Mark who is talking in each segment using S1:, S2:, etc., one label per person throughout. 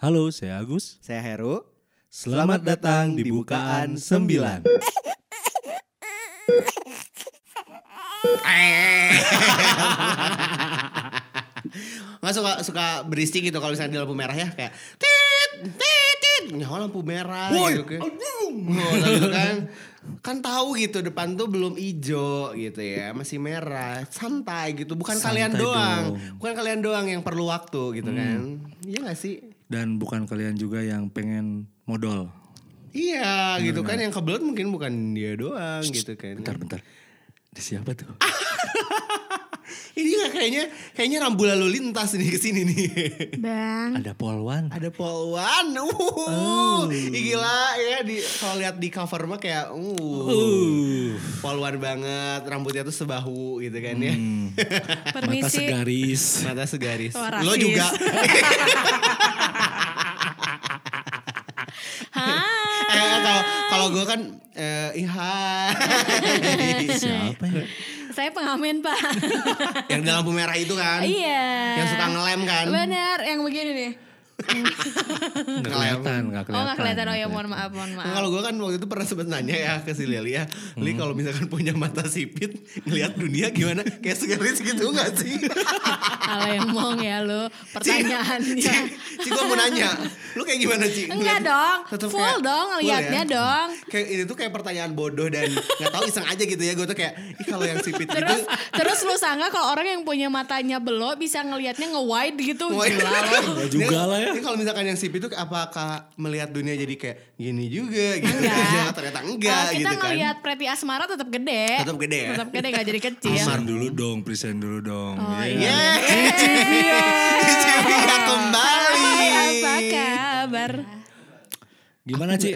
S1: Halo, saya Agus.
S2: Saya Heru.
S1: Selamat datang di Bukaan 9.
S2: Nggak suka suka berisik gitu kalau misalnya di lampu merah ya kayak tit tit tit nyawa lampu merah gitu kan. Ngolah gitu kan. Kan tahu gitu depan tuh belum ijo gitu ya, masih merah. Santai gitu, bukan
S1: Santai
S2: kalian doang.
S1: dong. Hmm.
S2: Bukan kalian doang yang perlu waktu gitu kan. Iya gak sih?
S1: Dan bukan kalian juga yang pengen modal.
S2: Iya gitu kan yang kebelet mungkin bukan dia doang gitu kan.
S1: Bentar, bentar. Di siapa tuh?
S2: Ah. Ini nggak kayaknya kayaknya rambu lalu lintas nih ke sini nih.
S3: Bang,
S1: Ada polwan.
S2: Ada polwan. Uh. Ih, gila ya di kalau lihat di cover mah kayak uh. Polwan banget, rambutnya tuh sebahu gitu kan ya.
S1: Mata
S3: permisi.
S1: segaris.
S2: Mata segaris.
S3: Wah,
S2: Lo
S3: rasis.
S2: juga.
S3: Hai.
S2: Eh, kalau kalau gue kan eh ih, hai.
S1: siapa ya?
S3: Saya pengamen, Pak.
S2: yang di lampu merah itu kan.
S3: iya.
S2: Yang suka ngelem kan.
S3: Benar, yang begini nih.
S1: Nggak kelihatan, nggak
S3: Oh,
S1: kelihatan.
S3: nggak kelihatan. Oh ya, mohon maaf, mohon
S2: Nah,
S3: maaf.
S2: kalau gue kan waktu itu pernah sempet nanya ya ke si Lili ya, Li kalau misalkan punya mata sipit, ngelihat dunia gimana? Kayak segaris gitu gak sih?
S3: Alemong ya lo pertanyaannya.
S2: Ci, gue mau nanya, lu kayak gimana Ci?
S3: Enggak
S2: Ngeliat-
S3: dong,
S2: tetep
S3: full
S2: kayak-
S3: dong
S2: full
S3: ngeliatnya
S2: ya?
S3: dong.
S2: Kayak ini tuh kayak pertanyaan bodoh dan nggak tahu iseng aja gitu ya. Gue tuh kayak, ih kalau yang sipit gitu,
S3: Terus terus lu sangka kalau orang yang punya matanya belok bisa ngelihatnya nge-wide gitu. Gila lo.
S1: Ya juga lah ya.
S2: iya." Ini kalau misalkan yang sipit tuh apakah melihat dunia jadi kayak gini juga gitu?
S3: Enggak.
S2: Ya, ternyata enggak
S3: Kalau Ah, kita
S2: gitu kan.
S3: ngelihat Preti Asmara tetap gede.
S2: Tetap gede ya?
S3: Tetap gede nggak jadi kecil.
S1: Present dulu dong, present dulu dong.
S3: ya. Oh,
S1: Iya.
S3: iya.
S2: Yeah. Iya. Cici Via Iya, kembali.
S3: Hai, apa kabar?
S1: Gimana, Ci?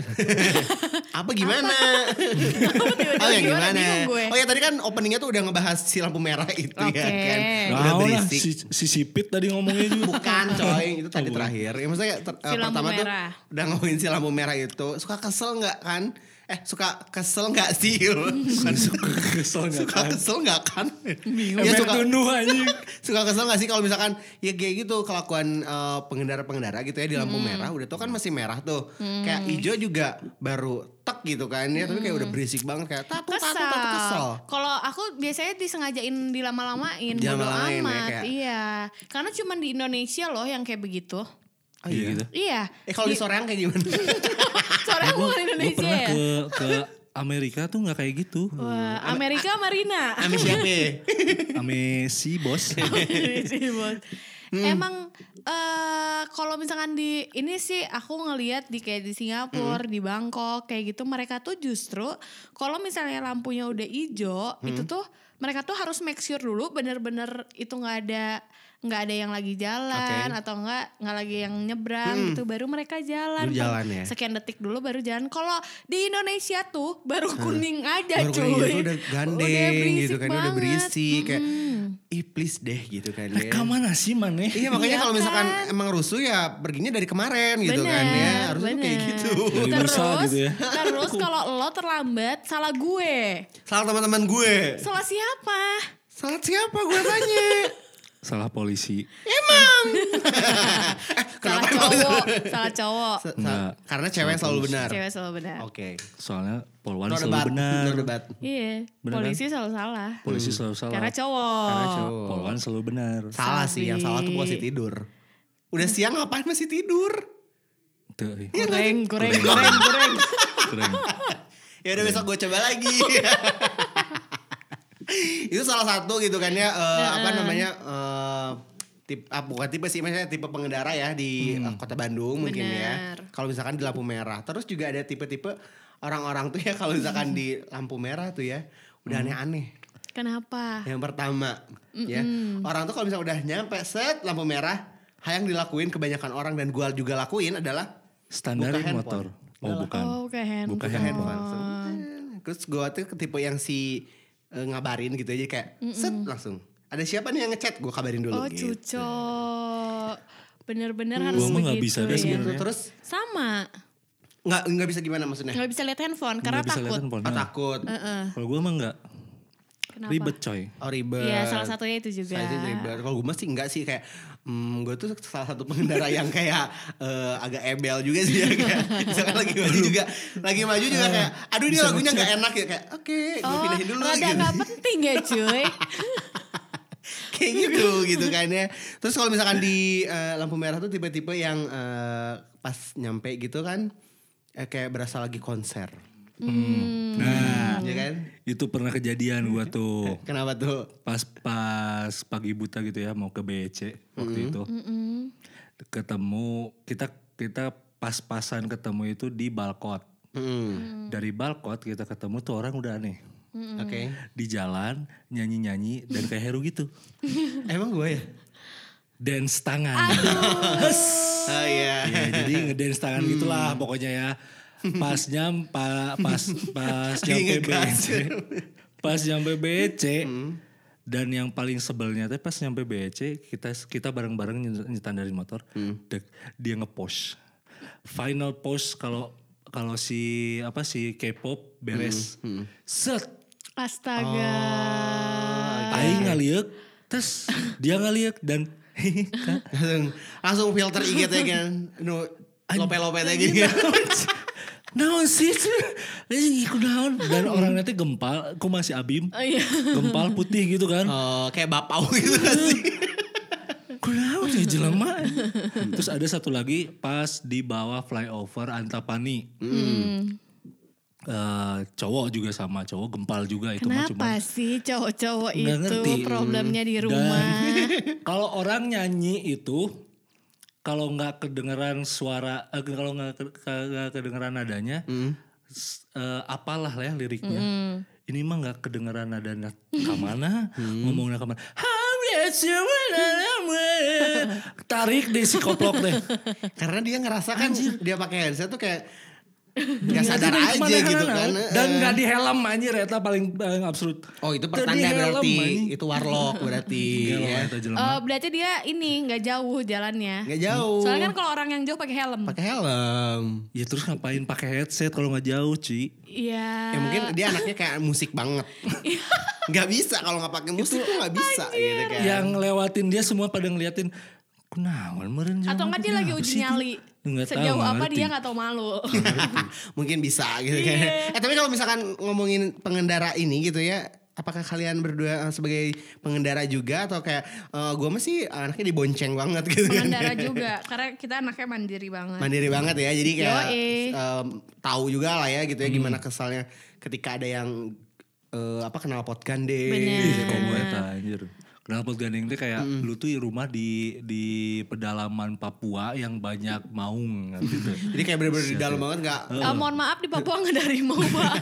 S2: Apa gimana?
S3: Tiba-tiba
S2: Oh yang
S3: gimana?
S2: gimana?
S3: Bingung gue.
S2: Oh ya tadi kan openingnya tuh udah ngebahas si lampu merah itu
S3: Oke.
S2: ya kan. Udah
S1: Nah, lah,
S2: berisik.
S1: si, si Sipit tadi ngomongnya juga.
S2: Bukan coy, itu tadi terakhir. Ya maksudnya kayak ter- eh,
S3: Si lampu
S2: pertama tuh
S3: merah.
S2: udah ngomongin si lampu merah itu. Suka kesel nggak kan? Eh suka kesel nggak sih? Bukan suka
S1: Kesel nggak
S2: suka
S1: kan?
S2: kesel nggak kan?
S1: Bingung.
S2: Ya,
S1: Efek
S2: suka- Oh,
S1: tunduh anjing.
S2: suka kesel gak sih kalau misalkan ya kayak gitu kelakuan eh, pengendara-pengendara gitu ya di lampu
S3: Hmm.
S2: merah udah tau kan masih merah tuh kayak ijo juga baru tek gitu kan ya tapi kayak udah berisik banget kayak tatu tatu
S3: Hmm. Kesel.
S2: tatu kesel
S3: Kalau aku biasanya disengajain dilama-lamain, bodo
S2: Dilama-lamain ya,
S3: amat.
S2: kayak-
S3: Iya. Karena cuman di Indonesia loh yang kayak begitu.
S2: oh, iya gitu
S3: Iya.
S2: eh kalau di Soreang kayak gimana
S3: Soalnya aku bukan
S1: Gue
S3: Indonesia
S1: pernah
S3: ya.
S1: ke ke Amerika tuh nggak kayak gitu.
S3: Wah, Amerika Marina.
S2: Ame siapa ya?
S1: Ame si bos.
S3: Sih, Iya, Bos.
S2: Hmm.
S3: Emang eh kalau misalkan di ini sih aku ngelihat di kayak di Singapura,
S2: Hmm.
S3: di Bangkok kayak gitu mereka tuh justru kalau misalnya lampunya udah ijo
S2: Hmm.
S3: itu tuh mereka tuh harus make sure dulu bener-bener itu nggak ada nggak ada yang lagi jalan
S2: Oke.
S3: atau nggak nggak lagi yang nyebrang gitu baru mereka jalan. Kan
S2: Dulu jalan ya.
S3: Sekian detik dulu baru jalan. Kalau di Indonesia tuh baru kuning aja
S2: Hmm. baru
S3: Iya, cuy.
S2: kayak gitu udah gandeng gitu
S3: berisik
S2: kan udah
S3: banget. Hmm.
S2: berisik kayak
S3: Mm-mm.
S2: ih please deh gitu kan ya
S1: Reka mana sih maneh?
S2: Iya makanya
S3: Iya
S2: kalau misalkan
S3: kan?
S2: emang rusuh ya perginya dari kemarin gitu kan ya
S3: Bener,
S2: harusnya tuh kayak
S3: bener.
S2: gitu.
S1: Dari
S3: Terus,
S1: bursa gitu ya.
S3: terus kalau lo terlambat, salah gue.
S2: Salah teman-teman gue.
S3: Salah siapa?
S2: Salah siapa gue tanya?
S1: Salah polisi.
S3: Salah cowok, salah cowok.
S2: Sa- sa-
S1: Enggak.
S2: Karena cewek selalu benar.
S3: Cewek selalu benar.
S2: Oke.
S1: Soalnya polwan
S2: No
S1: selalu
S2: debat.
S1: benar.
S2: No debat.
S3: Iya,
S1: Bener
S3: polisi selalu salah.
S1: Polisi selalu salah.
S3: Hmm. Karena cowok.
S2: Karena cowok.
S1: Polwan selalu benar.
S2: Salah sih, yang salah tuh posisi tidur. Udah siang ngapain masih tidur?
S1: Tuh,
S4: iya.
S1: ih,
S2: Iya
S3: Goreng, goreng, goreng, goreng.
S1: keren.
S2: Ya udah besok gue coba lagi. itu salah satu gitu kan ya eh, apa namanya eh tip ah, bukan tipe sih maksudnya tipe pengendara ya di
S1: Hmm.
S2: eh, kota Bandung mungkin ya
S3: Benar.
S2: kalau misalkan di lampu merah terus juga ada tipe-tipe orang-orang tuh ya kalau misalkan di lampu merah tuh ya udah
S1: Hmm.
S2: aneh-aneh
S3: Kenapa?
S2: Yang pertama, ya. Orang tuh kalau misalnya udah nyampe set lampu merah, hal yang dilakuin kebanyakan orang dan gua juga lakuin adalah
S1: Standarin
S2: Buka
S1: motor. Oh bukan.
S3: Oh, buka handphone.
S1: Buka handphone.
S2: handphone. Terus gua tuh ketipe yang si eh, ngabarin gitu aja kayak set langsung. Ada siapa nih yang ngechat? Gua kabarin dulu
S3: Oh,
S2: gitu.
S3: cuco. Bener-bener harus
S1: Gua mah nggak bisa
S3: begitu
S1: deh
S3: ya.
S2: Gitu.
S1: sebenarnya.
S2: Terus
S3: Sama.
S2: nggak nggak bisa gimana maksudnya?
S3: Nggak bisa lihat handphone
S1: Nggak
S3: karena
S1: bisa lihat
S3: takut.
S1: handphone.
S2: Oh,
S1: Nah,
S2: takut.
S3: Heeh.
S1: Kalau gue mah enggak.
S3: Kenapa?
S4: Ribet coy.
S2: Oh ribet.
S3: Iya, salah satunya itu juga.
S2: Salah satunya ribet. Kalau gue masih enggak sih kayak hmm, gue tuh salah satu pengendara yang kayak eh, agak embel juga sih ya kayak misalkan lagi maju juga lagi maju juga kayak aduh ini lagunya enggak enak ya kayak oke gue
S3: Eh, Oh,
S2: pindahin dulu
S3: rada
S2: gitu.
S3: gak penting ya cuy.
S2: kayak gitu gitu kan ya. Terus kalau misalkan di eh, lampu merah tuh tipe-tipe yang eh, pas nyampe gitu kan eh, kayak berasa lagi konser.
S3: Hmm.
S4: Nah,
S2: Ya kan?
S4: itu pernah kejadian gua
S3: Eh.
S4: tuh
S2: Kenapa tuh?
S4: pas pas pagi buta gitu ya mau ke BC waktu
S3: Hmm.
S4: itu. Ketemu kita kita pas-pasan ketemu itu di balkot.
S2: Hmm.
S4: Dari balkot kita ketemu tuh orang udah aneh.
S3: Hmm.
S2: Oke.
S4: Di jalan nyanyi-nyanyi dan kayak Heru gitu.
S2: Emang gue ya?
S4: Dance tangan. Hes.
S3: Hmm.
S2: Oh iya.
S4: ya, jadi ngedance tangan gitulah pokoknya ya. Pas nyam pa- pas pas nyampe
S2: ngegas.
S4: BC. Pas nyampe BC. Dan yang paling sebelnya tuh pas nyampe BC kita kita bareng-bareng nyet- nyetan dari motor. Dek, dia ngepost. Final post kalau kalau si apa si K-pop beres. Set
S3: Astaga.
S4: aing ngaliek, terus dia ngaliek dan kan?
S2: langsung langsung filter IG teh kan nu lope-lope teh gini kan
S4: Naon Iya. sih? Ini iku naon dan orangnya teh gempal, ku masih Abim.
S3: Oh, iya.
S4: Gempal putih gitu kan.
S2: Oh, kayak bapau gitu kan sih
S4: Ku naon ya jelema. Terus ada satu lagi pas di bawah flyover Antapani. Eh, cowok juga sama, cowok gempal juga itu mah cuman
S3: Kenapa sih cowok-cowok
S4: Nggak
S3: itu
S4: ngerti.
S3: problemnya di
S4: Dan
S3: rumah?
S4: kalau orang nyanyi itu kalau nggak kedengeran suara, eh, kalau nggak ke- ke- nggak kedengeran nadanya, s- eh, apalah lah ya liriknya.
S3: Hmm.
S4: Ini mah nggak kedengeran nadanya kemana,
S2: Hmm.
S4: ngomongnya kemana. I'm just a woman. Tarik deh si koplok deh.
S2: karena dia ngerasa kan dia pakai headset tuh kayak nggak
S4: Ini tadi
S2: sadar aja
S4: kemana-mana.
S2: gitu kan
S4: nah, Dan nggak di helm anjir, eta paling, paling absurd.
S2: oh
S4: Tadi
S2: itu pertanda
S4: helm,
S2: berarti
S4: anjing.
S2: itu warlock berarti
S4: Iya,
S2: ya.
S4: eta jelema.
S3: Eh, berarti dia ini nggak jauh jalannya.
S2: nggak jauh
S3: Soalnya kan kalau orang yang jauh pakai helm.
S2: pakai helm
S4: Ya terus ngapain pakai headset kalau nggak jauh, Ci?
S3: Iya.
S2: ya mungkin dia anaknya kayak musik banget nggak bisa kalau nggak pakai musik tuh nggak bisa gitu kan
S4: Yang lewatin dia semua pada ngeliatin kunaon meureun jeung
S3: Atau nggak dia lagi
S4: kenapa
S3: uji
S4: sih?"
S3: nyali.
S4: Nggak tahu,
S3: Sejauh
S4: nggak
S3: apa
S4: ngerti.
S3: dia nggak tahu malu.
S2: mungkin bisa gitu kan.
S3: Iya.
S2: Eh tapi kalau misalkan ngomongin pengendara ini gitu ya, apakah kalian berdua eh, sebagai pengendara juga atau kayak eh, gue masih anaknya dibonceng banget gitu kan.
S3: Pengendara juga. Karena kita anaknya mandiri banget.
S2: Mandiri banget ya. Jadi kayak
S3: Yoi.
S2: em, tahu juga lah ya gitu ya gimana kesalnya ketika ada yang eh, apa kenal Gitu. pot gandeng
S3: Bener.
S2: Iya.
S4: Ih, komo eta anjir. Knalpot gandeng teh kayak lu tuh rumah di di pedalaman Papua yang banyak maung gitu. ngerti tuh.
S2: Jadi kayak bener-bener di dalam banget gak
S3: Eh, mohon maaf di Papua nggak dari mau Pak.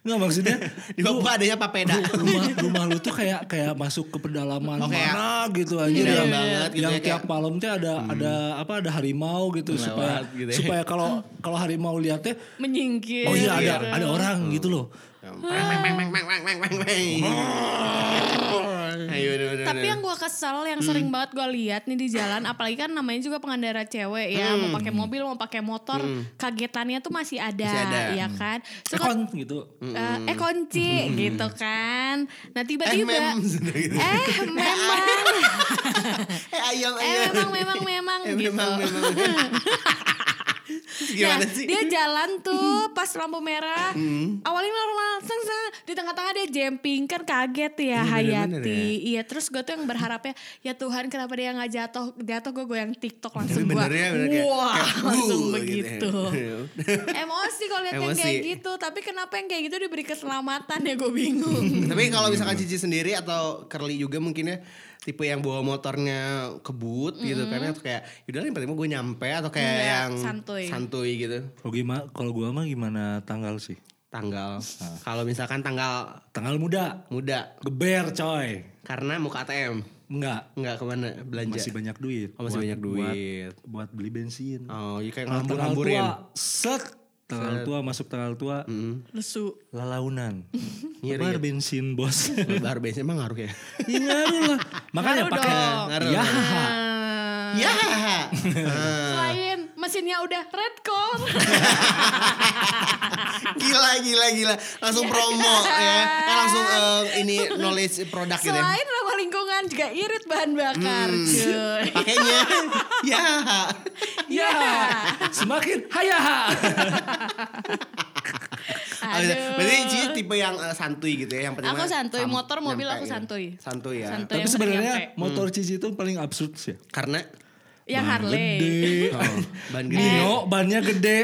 S4: Nggak maksudnya
S2: di bawah adanya papeda.
S4: rumah rumah lu tuh kayak kayak masuk ke pedalaman
S2: Oke, ya.
S4: mana gitu anjir
S2: Dalam
S4: yang,
S2: banget gitu
S4: yang
S2: ya, kayak- Hmm.
S4: tiap malam tuh ada ada apa ada harimau gitu
S2: Lewat
S4: supaya
S2: gitu ya.
S4: supaya kalau kalau harimau liatnya
S3: Menyingkir.
S4: oh iya ada
S3: gitu.
S4: ada orang
S2: Hmm.
S4: gitu loh
S2: Meng, meng, meng, meng, meng, meng, meng, meng. Ayo, aduh, aduh,
S3: Tapi
S2: aduh.
S3: yang gue kesel yang sering
S2: Hmm.
S3: banget gue lihat nih di jalan, apalagi kan namanya juga pengendara cewek ya,
S2: Hmm.
S3: mau pakai mobil mau pakai motor, kagetannya tuh masih ada,
S2: Masih ada. Hmm.
S3: ya kan. Suka
S4: sekon gitu
S3: eh, eh kunci gitu kan. Nah
S2: Eh,
S3: tiba-tiba
S2: mem. Gitu.
S3: eh memang
S2: Eh, ayam,
S3: eh
S2: ayam.
S3: memang memang memang
S2: Eh,
S3: gitu.
S2: memang, memang. Gimana
S3: nah,
S2: sih? Hmm.
S3: dia jalan tuh pas lampu merah. Awalnya normal, seng, seng. di tengah-tengah dia jumping kan kaget ya
S2: bener-bener
S3: Hayati. Iya, terus gue tuh yang berharapnya ya Tuhan kenapa dia nggak jatuh? Jatuh gue goyang TikTok langsung gue.
S2: benernya bener ya, kayak-
S3: Wah,
S2: kayak,
S3: langsung
S2: "Wuh," gitu.
S3: begitu. Emosi kalau lihat yang
S2: Emosi.
S3: kayak gitu, tapi kenapa yang kayak gitu diberi keselamatan ya gue bingung.
S2: Tapi kalau
S3: Hmm.
S2: misalkan Cici sendiri atau Curly juga mungkin ya tipe yang bawa motornya kebut gitu kan atau kayak yaudah lah, yang penting mah gue nyampe atau kayak
S3: Hmm. Iya,
S2: yang
S3: santuy.
S2: gitu.
S4: Kalau gimana? Kalau gua mah gimana tanggal sih?
S2: Tanggal. Kalau misalkan tanggal
S4: Tanggal muda,
S2: muda
S4: geber coy.
S2: karena mau ke ATM
S4: Enggak,
S2: nggak kemana belanja.
S4: masih banyak duit.
S2: Oh, masih banyak duit.
S4: Buat, buat beli bensin.
S2: Oh, jadi kayak
S4: Kalau tanggal
S2: ngambur-ngamburin.
S4: tua, set. Tanggal tua masuk tanggal tua,
S2: Hmm.
S3: Lesu.
S4: lalaunan.
S2: Ngiri
S4: Nyebar bensin bos.
S2: Baru bensin emang ngaruh ya.
S4: ya ngaruh lah. Makanya
S3: Ngaruh
S4: pakai
S3: dong.
S2: Ngaruh.
S4: ya.
S3: Nah,
S2: Ya. Ah,
S3: Selain mesinnya udah red core.
S2: gila gila gila. Langsung promo ya. Eh, langsung eh, ini knowledge produk gitu ya. Hmm.
S3: Selain ramah lingkungan juga irit bahan bakar. cuy.
S2: Pakainya. ya.
S3: Ya.
S4: Semakin hayaha.
S3: Aduh.
S2: Berarti Cici tipe yang eh, santuy gitu ya, yang penting
S3: Aku
S2: mah
S3: santuy,
S2: sam-
S3: motor, mobil
S2: nyampe
S3: aku
S2: gitu.
S3: santuy.
S2: Santuy
S4: Tapi
S2: ya.
S3: Santuy. yang penting
S4: sebenarnya
S3: nyampe.
S4: motor Cici itu paling absurd sih. ya.
S2: Karena
S3: Yang
S4: Ban
S3: Ya, Harley.
S4: Gede.
S2: Oh, ban gede.
S3: Iya,
S4: Dino, bannya gede.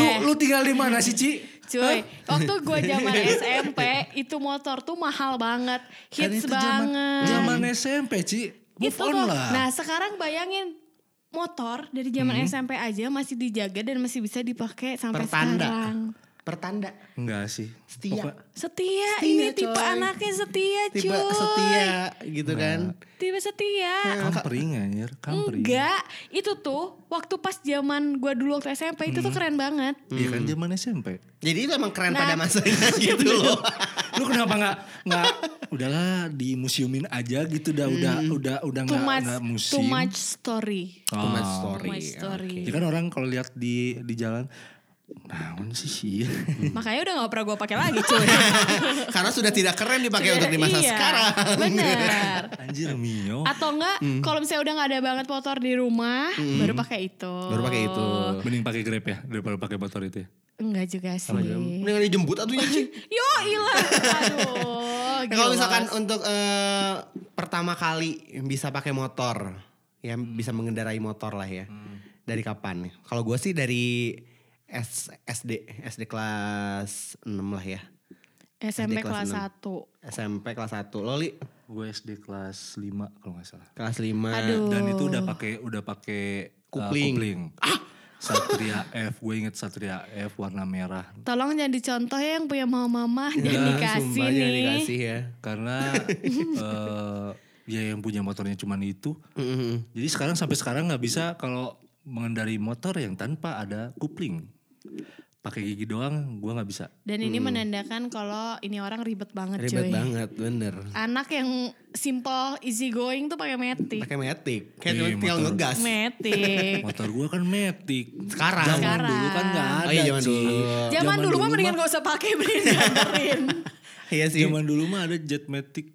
S4: Lu lu tinggal di mana sih, Ci?
S3: Cuy, waktu gua zaman SMP itu motor tuh mahal banget,
S4: Iya. Kan
S3: hits
S4: itu zaman-
S3: banget.
S4: Zaman SMP, Ci. Move
S3: Itu
S4: on
S3: kok.
S4: lah. Hmm.
S3: Nah, sekarang bayangin motor dari zaman SMP aja masih dijaga dan masih bisa dipakai sampai
S2: Pertanda.
S3: sekarang.
S2: Pertanda.
S4: Enggak sih.
S2: Setia.
S4: Pokok-
S3: Setia,
S2: Setia,
S3: ini tipe
S2: coy.
S3: anaknya setia, cuy.
S2: Tipe setia gitu kan.
S3: Tipe setia.
S4: Ya, Kampring anjir, kampring.
S3: Eh, Enggak, itu tuh waktu pas zaman gua dulu waktu SMP itu tuh keren banget.
S4: Iya kan zaman SMP.
S2: Jadi itu emang keren
S3: Nah.
S2: pada masanya gitu loh.
S4: Lu kenapa nggak nggak udahlah di museumin aja gitu dah udah udah udah
S3: Hmm. Too
S4: nggak
S3: much,
S4: nggak museum.
S3: too much story.
S4: Ah.
S2: Cuma
S3: Too much story.
S4: Ya kan orang kalau lihat di di jalan naon sih sih.
S3: Makanya udah gak pernah gue pakai lagi cuy.
S2: Karena sudah tidak keren dipakai untuk di masa
S3: Iya,
S2: sekarang. Oh. Hmm.
S3: Bener.
S4: Anjir Mio.
S3: Atau enggak kalau misalnya udah gak ada banget motor di rumah baru pakai itu.
S2: Baru pakai itu.
S4: Mending pakai Grab ya daripada pakai motor itu ya.
S3: Enggak juga sih.
S2: Mendingan dijemput atunya sih.
S3: Yo ilah. Aduh.
S2: Ya, Kalau
S3: gila.
S2: misalkan untuk eh, pertama kali bisa pakai motor, ya bisa mengendarai motor lah ya.
S4: Hmm.
S2: Dari kapan? Kalau gue sih dari S- SD, SD kelas 6 lah ya.
S3: SMP
S2: SD kelas
S3: kelas
S2: enam.
S3: 1.
S2: SMP kelas 1. Loli
S4: Gue SD kelas 5 kalau nggak salah.
S2: kelas 5.
S3: Aduh.
S4: Dan itu udah pakai udah pakai uh,
S2: Kupling.
S4: kupling.
S3: Ah!
S4: Satria F, gue inget Satria F warna merah.
S3: Tolong jangan dicontoh ya yang punya mama-mama jangan
S2: Iya,
S3: dikasih
S2: sumpah, jangan
S3: nih.
S2: Nah, dikasih ya.
S4: Karena eh, ya yang punya motornya cuman itu.
S2: Mm-mm.
S4: Jadi sekarang sampai sekarang nggak bisa kalau mengendari motor yang tanpa ada kupling. Pakai gigi doang gua nggak bisa.
S3: Dan ini menandakan kalau ini orang ribet banget
S2: Hmm. Ribet
S3: cuy.
S2: banget, bener.
S3: Anak yang simple easy going tuh pakai metik.
S2: Pakai metik, kayak
S4: Iya,
S2: tinggal
S4: motor.
S2: ngegas.
S3: Metik.
S4: Motor gua kan metik.
S2: Sekarang.
S4: Zaman
S3: Sekarang.
S4: dulu kan nggak ada.
S2: Oh iya, zaman
S4: Ci.
S2: dulu.
S3: Zaman, dulu mah mendingan gak usah pakai mendingan dianterin.
S2: Iya sih.
S4: Zaman dulu mah ada Jetmatic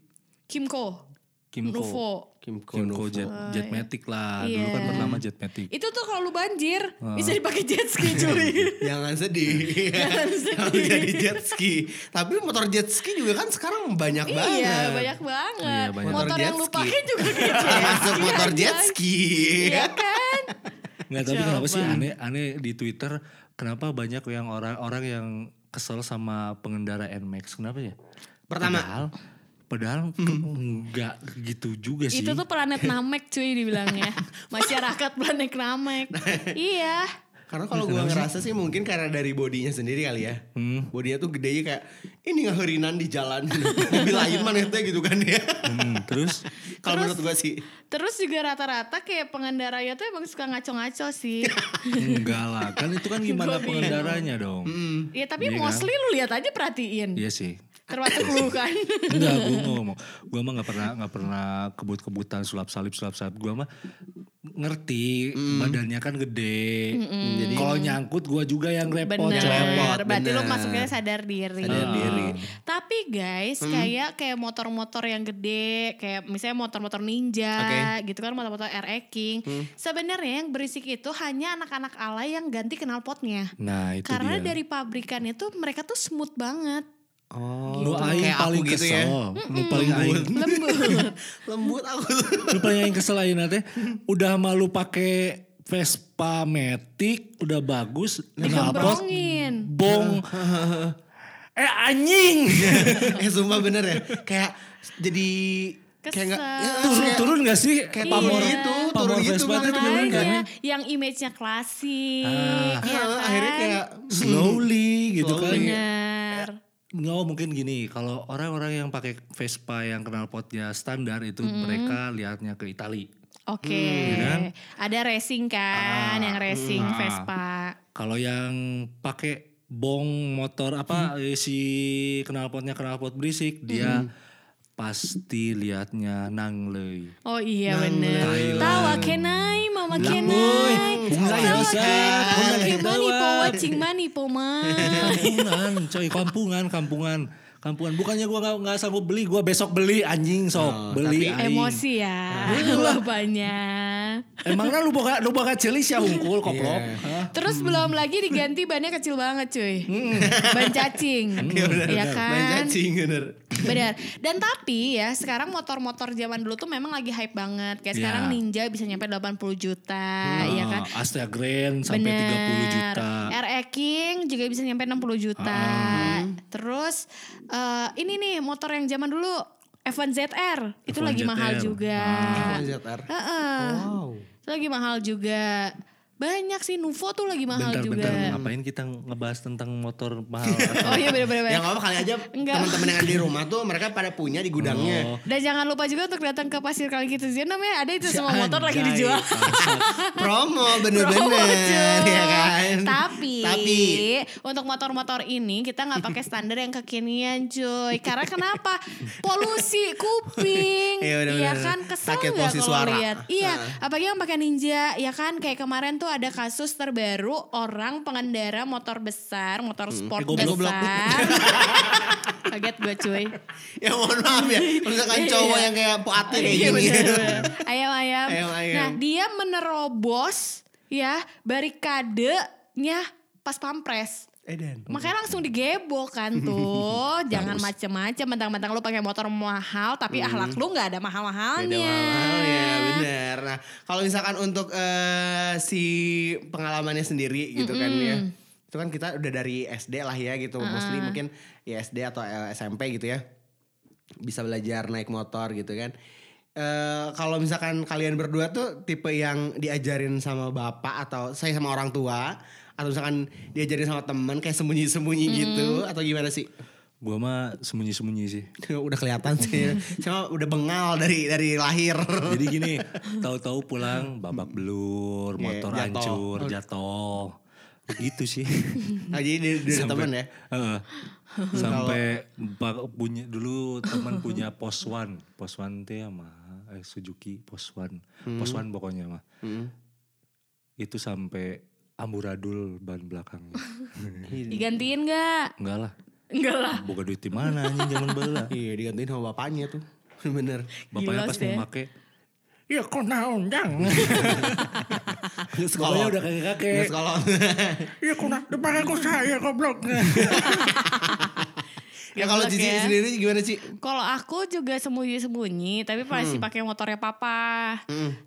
S3: Kimco,
S4: Kimco.
S3: Nuvo. Oh,
S2: Kimco,
S4: Kimco
S2: Nuvo.
S4: Jet, Jetmatic lah. Dulu
S3: Iya.
S4: kan pertama Jetmatic.
S3: Itu tuh kalau lu banjir bisa dipakai jet ski cuy.
S2: Jangan sedih.
S3: Jangan sedih.
S2: Kalau jadi jet ski. Tapi motor jet ski juga kan sekarang banyak banget.
S3: iya, banyak banget.
S4: Iya, banyak.
S3: Motor
S2: Motor jet
S3: yang lu
S2: ski. Iya.
S3: pakai juga kayak jet
S2: Masuk
S3: ski,
S2: motor
S3: anjay.
S2: jet ski.
S3: Iya kan?
S4: Nggak tapi kenapa sih
S3: Coba.
S4: aneh aneh di Twitter kenapa banyak yang orang-orang yang kesel sama pengendara Nmax kenapa ya?
S2: Pertama.
S4: Padahal, padahal nggak gitu juga sih.
S3: Hmm. Itu tuh planet Namek cuy dibilangnya. Masyarakat planet Namek. iya.
S2: Karena kalau gue ngerasa sih mungkin karena dari bodinya sendiri kali ya.
S4: Hmm.
S2: Bodinya tuh gedenya kayak ini ngeherinan di jalan. Mobil lain mana itu gitu kan ya.
S4: Hmm, terus
S2: Kalau menurut gue sih.
S3: Terus juga rata-rata kayak pengendara ya tuh emang suka ngaco-ngaco sih.
S4: enggak lah kan itu kan gimana pengendaranya dong.
S3: ya tapi
S4: Iya kan?
S3: mostly lu lihat aja perhatiin.
S4: Iya sih.
S3: Termasuk lu kan.
S4: Enggak, gue ngomong, gue mah nggak pernah nggak pernah kebut-kebutan sulap salip sulap salip. Gue mah ngerti
S3: Hmm.
S4: badannya kan gede. Jadi kalau nyangkut gue juga yang repot.
S3: Bener,
S4: coy.
S2: Repot,
S3: berarti lu
S2: bener.
S3: masuknya sadar diri.
S2: Sadar diri.
S3: Tapi guys, kayak kayak motor-motor yang gede, kayak misalnya motor-motor ninja, gitu kan motor-motor RE King. Sebenarnya yang berisik itu hanya anak-anak alay yang ganti knalpotnya.
S4: Nah itu
S3: Karena
S4: dia.
S3: dari pabrikannya tuh mereka tuh smooth banget,
S2: Oh,
S4: lu aing
S2: kayak
S4: paling
S2: aku
S4: gitu
S2: gitu
S4: kesel.
S2: ya.
S4: Lu paling aing.
S3: lembut.
S2: Lembut aku.
S4: Lu paling aing kesel aing nanti. Udah malu pakai Vespa Matic udah bagus kenapa
S3: Digembrongin.
S4: bong eh anjing
S2: eh sumpah bener ya. Kayak jadi kayak nggak
S3: Kesel.
S2: ya,
S4: turun
S2: kayak-
S4: turun gak sih
S2: kayak
S3: Iya.
S2: pamor gitu, turun
S4: pamor
S2: gitu
S4: Vespa
S2: banget.
S4: tuh turun nggak?
S3: Makanya yang image-nya klasik.
S2: Heeh,
S3: ya kan?
S2: Ah. akhirnya kayak
S4: slowly gitu kan
S3: bener.
S4: nggak mungkin gini kalau orang-orang yang pakai Vespa yang knalpotnya standar itu mereka lihatnya ke Itali
S3: Oke,
S4: kan? Ah, hmm.
S3: ada racing kan, yang racing Vespa.
S4: kalau yang pakai bong motor apa
S2: Hmm.
S4: eh, si knalpotnya knalpot berisik dia pasti lihatnya nanglei
S3: Oh iya
S4: Nah,
S3: bener.
S4: Thailand.
S3: Tawa kenai sama Kenai.
S4: boy. Bunga ya,
S3: Sama
S4: Ustaz. Bunga
S3: Kenai.
S4: yang
S3: Kimani
S4: dibawa.
S3: po wacing mani po man.
S4: kampungan coy kampungan kampungan kampungan bukannya gua nggak nggak sanggup beli gua besok beli anjing sok beli
S2: Oh, tapi-
S4: anjing.
S3: Emosi ya bapaknya.
S4: emangnya nah, lu boga lu boga celis ya hungkul koplok
S2: Iya.
S4: Hah?
S3: Terus belum lagi diganti bannya kecil banget cuy.
S4: Hmm.
S3: Ban cacing. Iya
S2: Main
S3: kan?
S2: cacing bener.
S3: Benar. Dan tapi ya sekarang motor-motor zaman dulu tuh memang lagi hype banget. Kayak
S4: Iya.
S3: sekarang Ninja bisa nyampe 80 juta, ya kan?
S4: Ah, Astra Grand sampai
S3: Bener. Eh,
S4: 30 juta.
S3: RE King juga bisa nyampe 60 juta.
S4: Ah.
S3: Terus eh, ini nih motor yang zaman dulu F1 ZR itu
S4: F1
S3: lagi mahal
S4: ZR.
S3: juga. Iya.
S2: ZR.
S4: Ah.
S3: Heeh. Itu lagi mahal juga. Banyak sih Nuvo tuh lagi mahal juga.
S4: Bentar-bentar ngapain kita ngebahas tentang motor mahal?
S3: Oh iya
S2: Yang
S3: benar-benar.
S2: apa Ya, kali aja
S3: Enggak.
S2: teman-teman yang ada di rumah tuh mereka pada punya di
S4: Oh.
S2: gudangnya.
S3: Dan jangan lupa juga untuk datang ke Pasir Kali Gitu namanya ada itu semua motor lagi
S4: Anjay,
S3: dijual.
S4: bangsat.
S2: Promo
S3: Promo,
S2: bener-bener
S3: cuy.
S2: ya Iya, kan.
S3: Tapi,
S2: Tapi
S3: untuk motor-motor ini kita nggak pakai standar yang kekinian cuy. Karena kenapa? Polusi kuping,
S2: Iya, bener-bener.
S3: iya kan kesel
S2: Sakit
S3: nggak
S2: polusi
S3: kalau
S2: suara.
S3: lihat. Iya, apalagi yang pakai ninja, ya kan? Kayak kemarin tuh ada kasus terbaru orang pengendara motor besar, motor
S2: Hmm.
S3: sport
S4: goblok. Goblok.
S3: besar. Kaget gue cuy.
S2: ya mohon maaf ya. Kalau Misalkan cowok yang kayak poatin kayak
S3: Iya,
S2: gini.
S3: bener-bener. Ayam-ayam.
S2: Ayam-ayam.
S3: Nah dia menerobos ya barikadenya pas pampres.
S2: Eden.
S3: Makanya langsung digebok kan tuh. Jangan macem-macem. Mentang-mentang lu pakai motor mahal tapi akhlak lu nggak ada
S2: Beda
S3: mahal-mahalnya.
S2: mahal ya bener. Nah kalau misalkan untuk eh, si pengalamannya sendiri gitu kan ya. Itu kan kita udah dari SD lah ya gitu. Mostly mungkin ya SD atau eh, SMP gitu ya. Bisa belajar naik motor gitu kan. Eh kalau misalkan kalian berdua tuh tipe yang diajarin sama bapak atau saya sama orang tua. Atau misalkan diajarin sama temen kayak sembunyi-sembunyi gitu. Atau gimana sih?
S4: Gua mah sembunyi-sembunyi sih.
S2: udah kelihatan sih. Cuma udah bengal dari dari lahir.
S4: Jadi gini, tahu-tahu pulang babak
S3: Iya,
S4: belur, motor
S2: jatuh.
S4: hancur, jatuh. Gitu sih.
S2: Nah, jadi dari, dari temen ya.
S4: Heeh. sampai bak- punya dulu teman punya poswan, poswan teh mah eh, Suzuki poswan,
S3: Hmm.
S4: poswan pokoknya mah. Itu sampai amburadul ban belakangnya.
S3: Digantiin nggak?
S4: Enggak lah,
S3: Enggak lah.
S4: boga duit di mana anjing zaman bela.
S2: Iya digantiin sama bapaknya tuh. Bener.
S4: Bapaknya
S3: Gilos
S4: pas
S3: deh.
S4: mau make Ya kok naon dang. Sekolahnya udah kakek-kakek.
S2: Nggak sekolah.
S4: Ya kok nak depan aku saya goblok.
S2: ya kalau
S3: Goblok
S2: Cici
S3: ya.
S2: sendiri gimana sih?
S3: Kalau aku juga sembunyi-sembunyi, tapi pasti pakai motornya papa.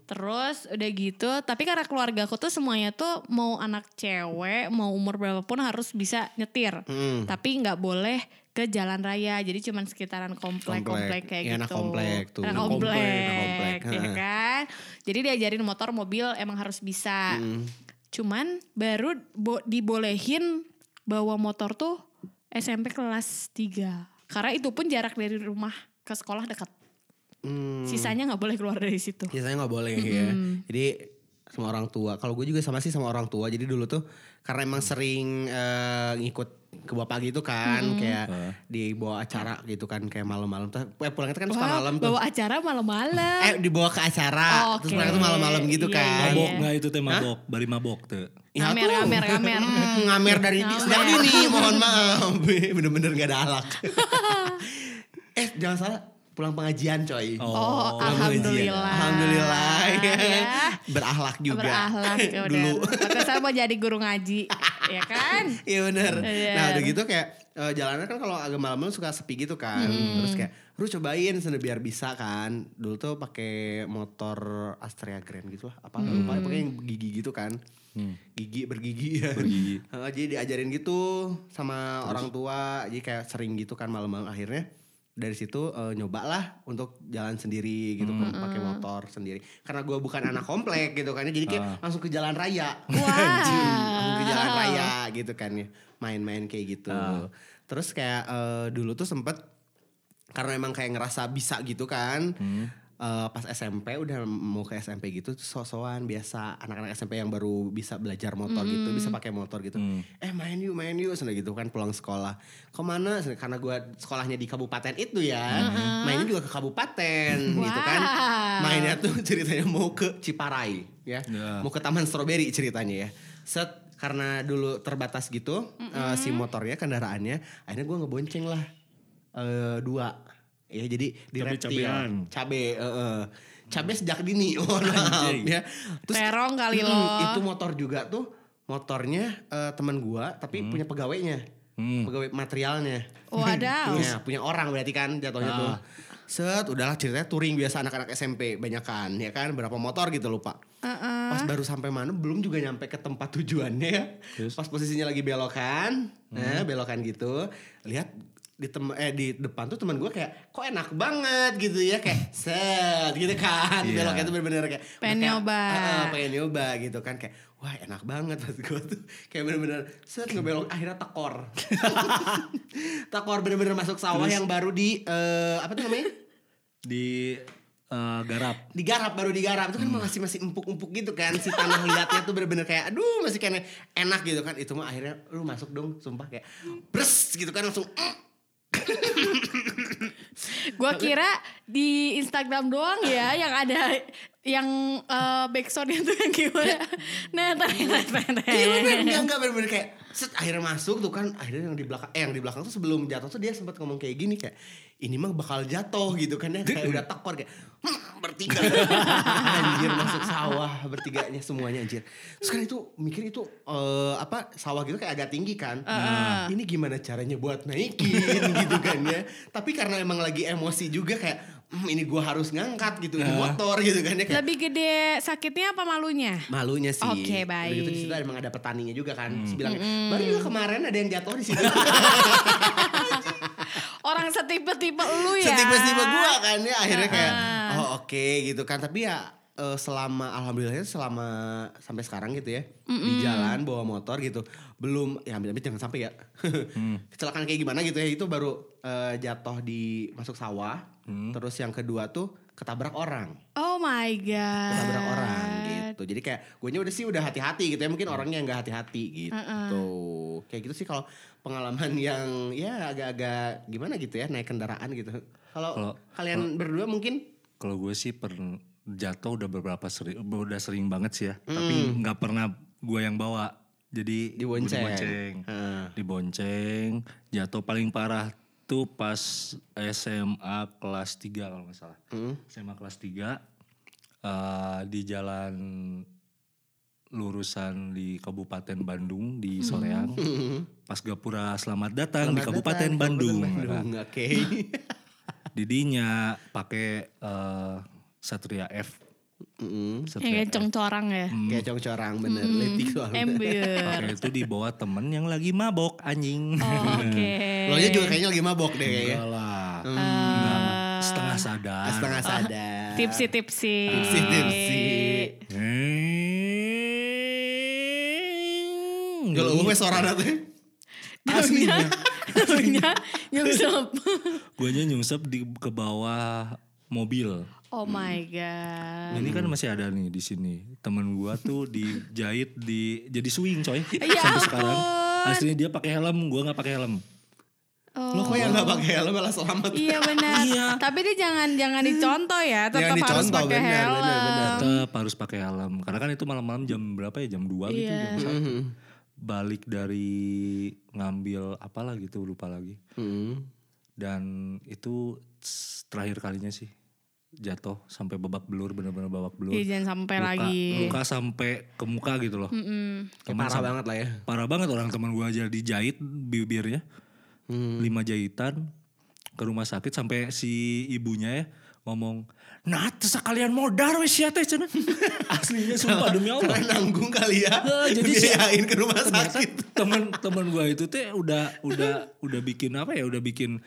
S3: Terus udah gitu, tapi karena keluarga aku tuh semuanya tuh mau anak cewek, mau umur berapapun harus bisa nyetir. Tapi nggak boleh ke jalan raya. Jadi cuman sekitaran
S2: Komplek.
S3: komplek-komplek kayak
S2: Ya,
S3: gitu.
S2: anak komplek tuh.
S3: Anak
S2: Anak
S3: komplek,
S2: komplek, anak komplek.
S3: ya
S2: Ha.
S3: kan. Jadi diajarin motor, mobil emang harus bisa. Cuman baru bo- dibolehin bawa motor tuh SMP kelas 3. Karena itu pun jarak dari rumah ke sekolah dekat.
S2: Hmm,
S3: Sisanya nggak boleh keluar dari situ.
S2: biasanya nggak boleh ya. Jadi sama orang tua. Kalau gue juga sama sih sama orang tua. Jadi dulu tuh karena emang sering eh, ngikut ke bapak gitu kan, kayak dibawa acara gitu kan, kayak malam-malam. Tuh, Eh pulang itu kan suka
S3: Wah,
S2: malam tuh.
S3: bawa acara malam-malam.
S2: Eh dibawa ke acara, terus
S3: Oke.
S2: mereka tuh malam-malam gitu
S3: Iya,
S2: kan.
S4: Mabok
S3: Iya.
S4: nggak itu teh mabok, bari mabok teh.
S2: Ya
S3: Ngamer,
S2: tuh.
S3: ngamer, ngamer. Iya.
S2: Hmm, ngamer dari di- sejak dini, mohon maaf. Bener-bener gak ada alak. eh, jangan salah. Pulang pengajian coy.
S3: Oh,
S4: Orang
S3: alhamdulillah.
S4: Malaysia.
S2: Alhamdulillah.
S3: Ya.
S2: Berahlak juga.
S3: Berahlak ya udah.
S2: Dulu.
S3: Maka saya mau jadi guru ngaji, ya kan?
S2: Iya bener.
S3: Bener.
S2: Nah udah gitu kayak eh, jalannya kan kalau agak malam-malam suka sepi gitu kan. Terus kayak lu cobain sendiri biar bisa kan. Dulu tuh pakai motor Astrea Grand gitu lah. Apa lupa pakai yang gigi gitu kan. Gigi bergigi ya.
S4: Bergigi.
S2: Heeh, jadi diajarin gitu sama orang tua. Jadi kayak sering gitu kan malam-malam akhirnya dari situ eh, nyobalah untuk jalan sendiri gitu kan pakai motor sendiri karena gue bukan anak komplek gitu kan jadi kayak langsung ke jalan raya langsung ke jalan raya gitu kan ya main-main kayak gitu terus kayak eh, dulu tuh sempet karena emang kayak ngerasa bisa gitu kan eh, pas SMP udah mau ke SMP gitu sosokan biasa anak-anak SMP yang baru bisa belajar motor gitu bisa pakai motor gitu eh main yuk main yuk sudah gitu kan pulang sekolah kemana Sana, karena gue sekolahnya di kabupaten itu ya mainnya juga ke kabupaten gitu kan
S3: Wow.
S2: mainnya tuh ceritanya mau ke Ciparai ya
S4: Ya.
S2: mau ke Taman Stroberi ceritanya ya set karena dulu terbatas gitu eh, si motornya kendaraannya akhirnya gue ngebonceng lah eh, dua ya jadi di
S4: Cabe-cabean.
S2: reptil cabe eh, eh. cabe sejak dini mohon maaf ya
S3: Terong kali
S2: Mm,
S3: lo.
S2: itu motor juga tuh motornya eh, teman gua tapi punya pegawainya pegawai materialnya
S3: Wadaw.
S2: Punya, punya orang berarti kan jatuhnya tuh. Set, udahlah ceritanya touring biasa anak-anak SMP banyak kan, ya kan berapa motor gitu lupa. Pas baru sampai mana belum juga nyampe ke tempat tujuannya. ya. Pas posisinya lagi belokan,
S3: Hmm.
S2: nah belokan gitu, lihat di tem eh di depan tuh teman gue kayak kok enak banget gitu ya kayak set gitu kan beloknya tuh bener-bener kayak udah
S3: Iya. Pengen
S2: kayak,
S3: nyoba.
S2: "Ah, ah, pengen nyoba gitu kan kayak wah enak banget pas gue tuh kayak bener-bener set ngebelok akhirnya tekor tekor bener-bener masuk sawah yang baru di eh, apa tuh namanya
S4: di eh, garap
S2: digarap baru digarap itu kan masih masih empuk-empuk gitu kan si tanah liatnya tuh bener-bener kayak aduh masih kayak enak gitu kan itu mah akhirnya lu masuk dong sumpah kayak bres gitu kan langsung "Mm."
S3: Gua kira di Instagram doang ya yang ada yang eh, backsoundnya tuh yang gimana. Nah, ternyata
S2: Iya bener enggak enggak bener-bener kayak set akhirnya masuk tuh kan akhirnya yang di belakang eh yang di belakang tuh sebelum jatuh tuh dia sempat ngomong kayak gini kayak ini mah bakal jatuh gitu kan ya kayak udah tekor kayak "Hmm, bertiga anjir masuk sawah bertiganya semuanya anjir terus kan itu mikir itu eh, apa sawah gitu kayak agak tinggi kan
S3: Heeh.
S2: ini gimana caranya buat naikin gitu kan ya tapi karena emang lagi emosi juga kayak "Hmm, ini gua harus ngangkat gitu ini motor gitu kan ya kayak
S3: Lebih gede sakitnya apa malunya?
S2: Malunya sih.
S3: Oke,
S2: Udah
S3: baik.
S2: Gitu di situ emang ada petaninya juga kan. Terus bilangnya, baru juga kemarin ada yang jatuh di situ.
S3: Oh, Orang setipe-tipe lu ya.
S2: Setipe-setipe gua kan ya akhirnya kayak
S3: Ah.
S2: oh oke gitu kan. Tapi ya eh, selama alhamdulillahnya selama sampai sekarang gitu ya di jalan bawa motor gitu belum ya amit-amit jangan sampai ya
S3: Hmm.
S2: kecelakaan kayak gimana gitu ya itu baru eh, jatuh di masuk sawah
S3: Hmm.
S2: terus yang kedua tuh ketabrak orang
S3: Oh my god.
S2: ketabrak orang gitu. Jadi kayak gue udah sih udah hati-hati gitu ya
S4: Iya.
S2: mungkin orangnya nggak hati-hati gitu. Kayak gitu sih kalau pengalaman yang ya agak-agak gimana gitu ya naik kendaraan gitu.
S4: Kalau-
S2: Kalau kalian berdua mungkin
S4: kalau gue sih per jatuh udah beberapa sering udah sering banget sih ya tapi nggak pernah gue yang bawa jadi
S2: Dibonceng.
S4: dibonceng,
S2: Heeh.
S4: dibonceng jatuh paling parah tuh pas SMA kelas 3 kalau nggak salah
S2: hmm.
S4: SMA kelas 3 eh, di jalan lurusan di Kabupaten Bandung di Soreang pas Gapura Hmm. selamat datang di Kabupaten
S2: Kabupaten
S4: Bandung, Nah,
S2: Bandung, Oke.
S4: Didinya pakai eh, Satria F.
S2: Mm-mm.
S3: Yang
S4: Satria
S3: kayak congcorang ya.
S4: Mm.
S2: Kayak congcorang bener letik soalnya.
S3: Ember.
S4: Pakai itu dibawa temen yang lagi mabok anjing.
S3: Oh, Oke.
S2: Lo nya juga kayaknya lagi mabok deh ya. kayaknya.
S4: Enggak lah. Enggak, Eh. setengah sadar.
S2: Setengah sadar.
S3: Tipsi-tipsi.
S2: Tipsi-tipsi.
S4: Hmm.
S2: Kalau gue sorana tuh.
S3: Daunnya, daunnya nyungsep.
S4: Guanya nyungsep di ke bawah mobil.
S3: Oh my god.
S4: Ini kan masih ada nih di sini. Temen gua tuh dijahit di jadi swing coy.
S3: Ya
S4: Sampai sekarang.
S3: ampun.
S4: Aslinya dia pakai helm, gua nggak pakai helm.
S2: Lo kok yang gak pakai helm malah selamat.
S3: Iya benar.
S4: Iya.
S3: Tapi dia jangan jangan dicontoh ya, tetap
S2: Jangan
S3: harus
S2: dicontoh,
S3: pakai
S2: benar,
S3: helm.
S2: benar, benar.
S4: Tetap harus pakai helm. Karena kan itu malam-malam jam berapa ya? Jam 2 gitu,
S3: Iya.
S4: jam 1. Balik dari ngambil apalah gitu, lupa lagi.
S2: Mm.
S4: Dan itu s- terakhir kalinya sih jatuh sampai babak belur bener-bener babak belur.
S3: Iya, jangan sampai
S4: luka,
S3: lagi.
S4: luka sampai ke muka gitu loh.
S2: Kayak
S4: Temen
S2: Parah
S4: sampai-
S2: banget lah ya.
S4: Parah banget orang teman gua aja dijahit bibirnya. Lima jahitan ke rumah sakit sampai si ibunya ya ngomong nah sekalian modar wes ya teh cenah." aslinya sumpah demi Allah
S2: Karena nanggung kali ya.
S4: Eh, jadi si-
S2: Dibiayain ke rumah sakit.
S4: teman-teman gua itu teh udah udah udah bikin apa ya udah bikin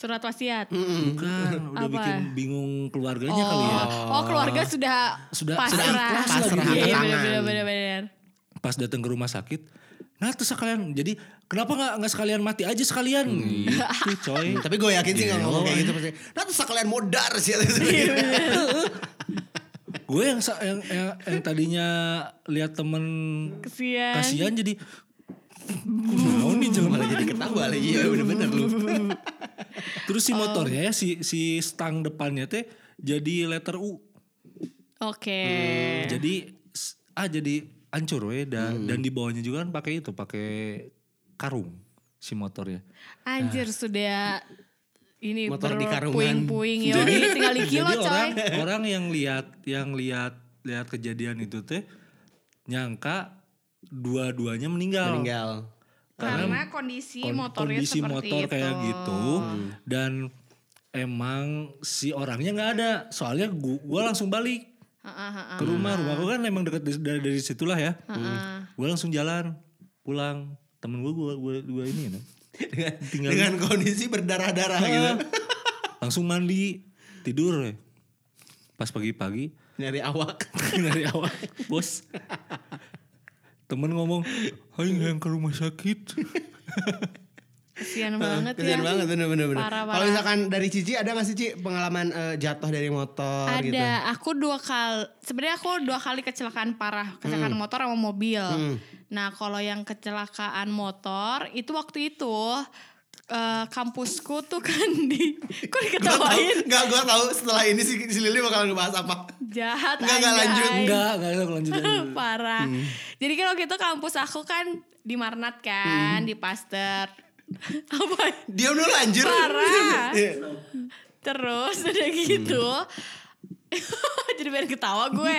S3: Surat wasiat.
S4: bukan udah
S3: Apa?
S4: bikin bingung keluarganya Mm, kali ya
S3: Oh, keluarga sudah
S4: Sudah- sudah
S3: pasrah.
S4: ikhlas iya, lah
S2: gitu ya.
S3: Iya, benar benar benar.
S4: pas datang ke rumah sakit nah terus sekalian jadi kenapa nggak nggak sekalian mati aja sekalian gitu coy
S2: Tapi gue yakin sih nggak ngomong kayak gitu pasti. Nah terus kalian modar sih. Iya,
S4: gue yang, sa- yang yang yang tadinya lihat temen
S3: Kesian.
S4: kasihan jadi mau nih jelema?"
S2: Malah jadi ketawa lagi ya bener-bener lu.
S4: terus si motornya ya si si stang depannya teh jadi letter U
S3: Oke.
S4: Hmm. jadi s- ah jadi hancur we dan dan di bawahnya juga kan pakai itu pakai karung si motornya
S3: Anjir
S4: Nah.
S3: sudah ini
S2: Motor di karungan.
S3: berpuing-puing yo. tinggal di kilo
S4: Jadi
S3: coy.
S4: orang orang yang lihat yang lihat lihat kejadian itu teh nyangka dua-duanya meninggal.
S2: Meninggal.
S3: Karena kondisi
S4: Kon-
S3: motornya
S4: kondisi
S3: seperti
S4: motor
S3: itu.
S4: kayak gitu dan emang si orangnya nggak ada. Soalnya gua, gua langsung balik
S3: Heeh, heeh,
S4: ke rumah. Rumah gua kan emang dekat dari, dari dari situlah ya.
S3: heeh.
S4: Gua langsung jalan pulang. Temen gua gua gua, gua ini ya. Tinggal
S2: Dengan kondisi berdarah-darah gitu.
S4: langsung mandi, tidur. we. Pas pagi-pagi
S2: Nyari awak.
S4: dari awal bos Hmm. temen ngomong ayo yang ke rumah sakit
S3: Kesian banget ya.
S2: Kesian banget bener-bener.
S3: Parah,
S2: Kalau
S3: parah.
S2: misalkan dari Cici ada gak sih Cici pengalaman eh, jatuh dari motor
S3: Ada,
S2: gitu?
S3: aku dua kali. Sebenarnya aku dua kali kecelakaan parah, kecelakaan
S2: Hmm.
S3: motor sama mobil. Nah, kalau yang kecelakaan motor itu waktu itu eh, kampusku tuh kan di, kok diketawain
S2: Gak gue tau setelah ini si, si Lili bakal ngebahas apa.
S3: jahat
S2: Enggak, enggak, lanjut.
S3: anjay.
S4: enggak enggak usah lanjut aja.
S3: parah.
S2: Hmm.
S3: Jadi kan waktu itu kampus aku kan di Marnat kan,
S2: Hmm.
S3: di Pasteur. Apa?
S2: Diam dulu anjir.
S3: Parah.
S2: Iya.
S3: Terus udah gitu.
S2: Hmm.
S3: Jadi biar ketawa gue.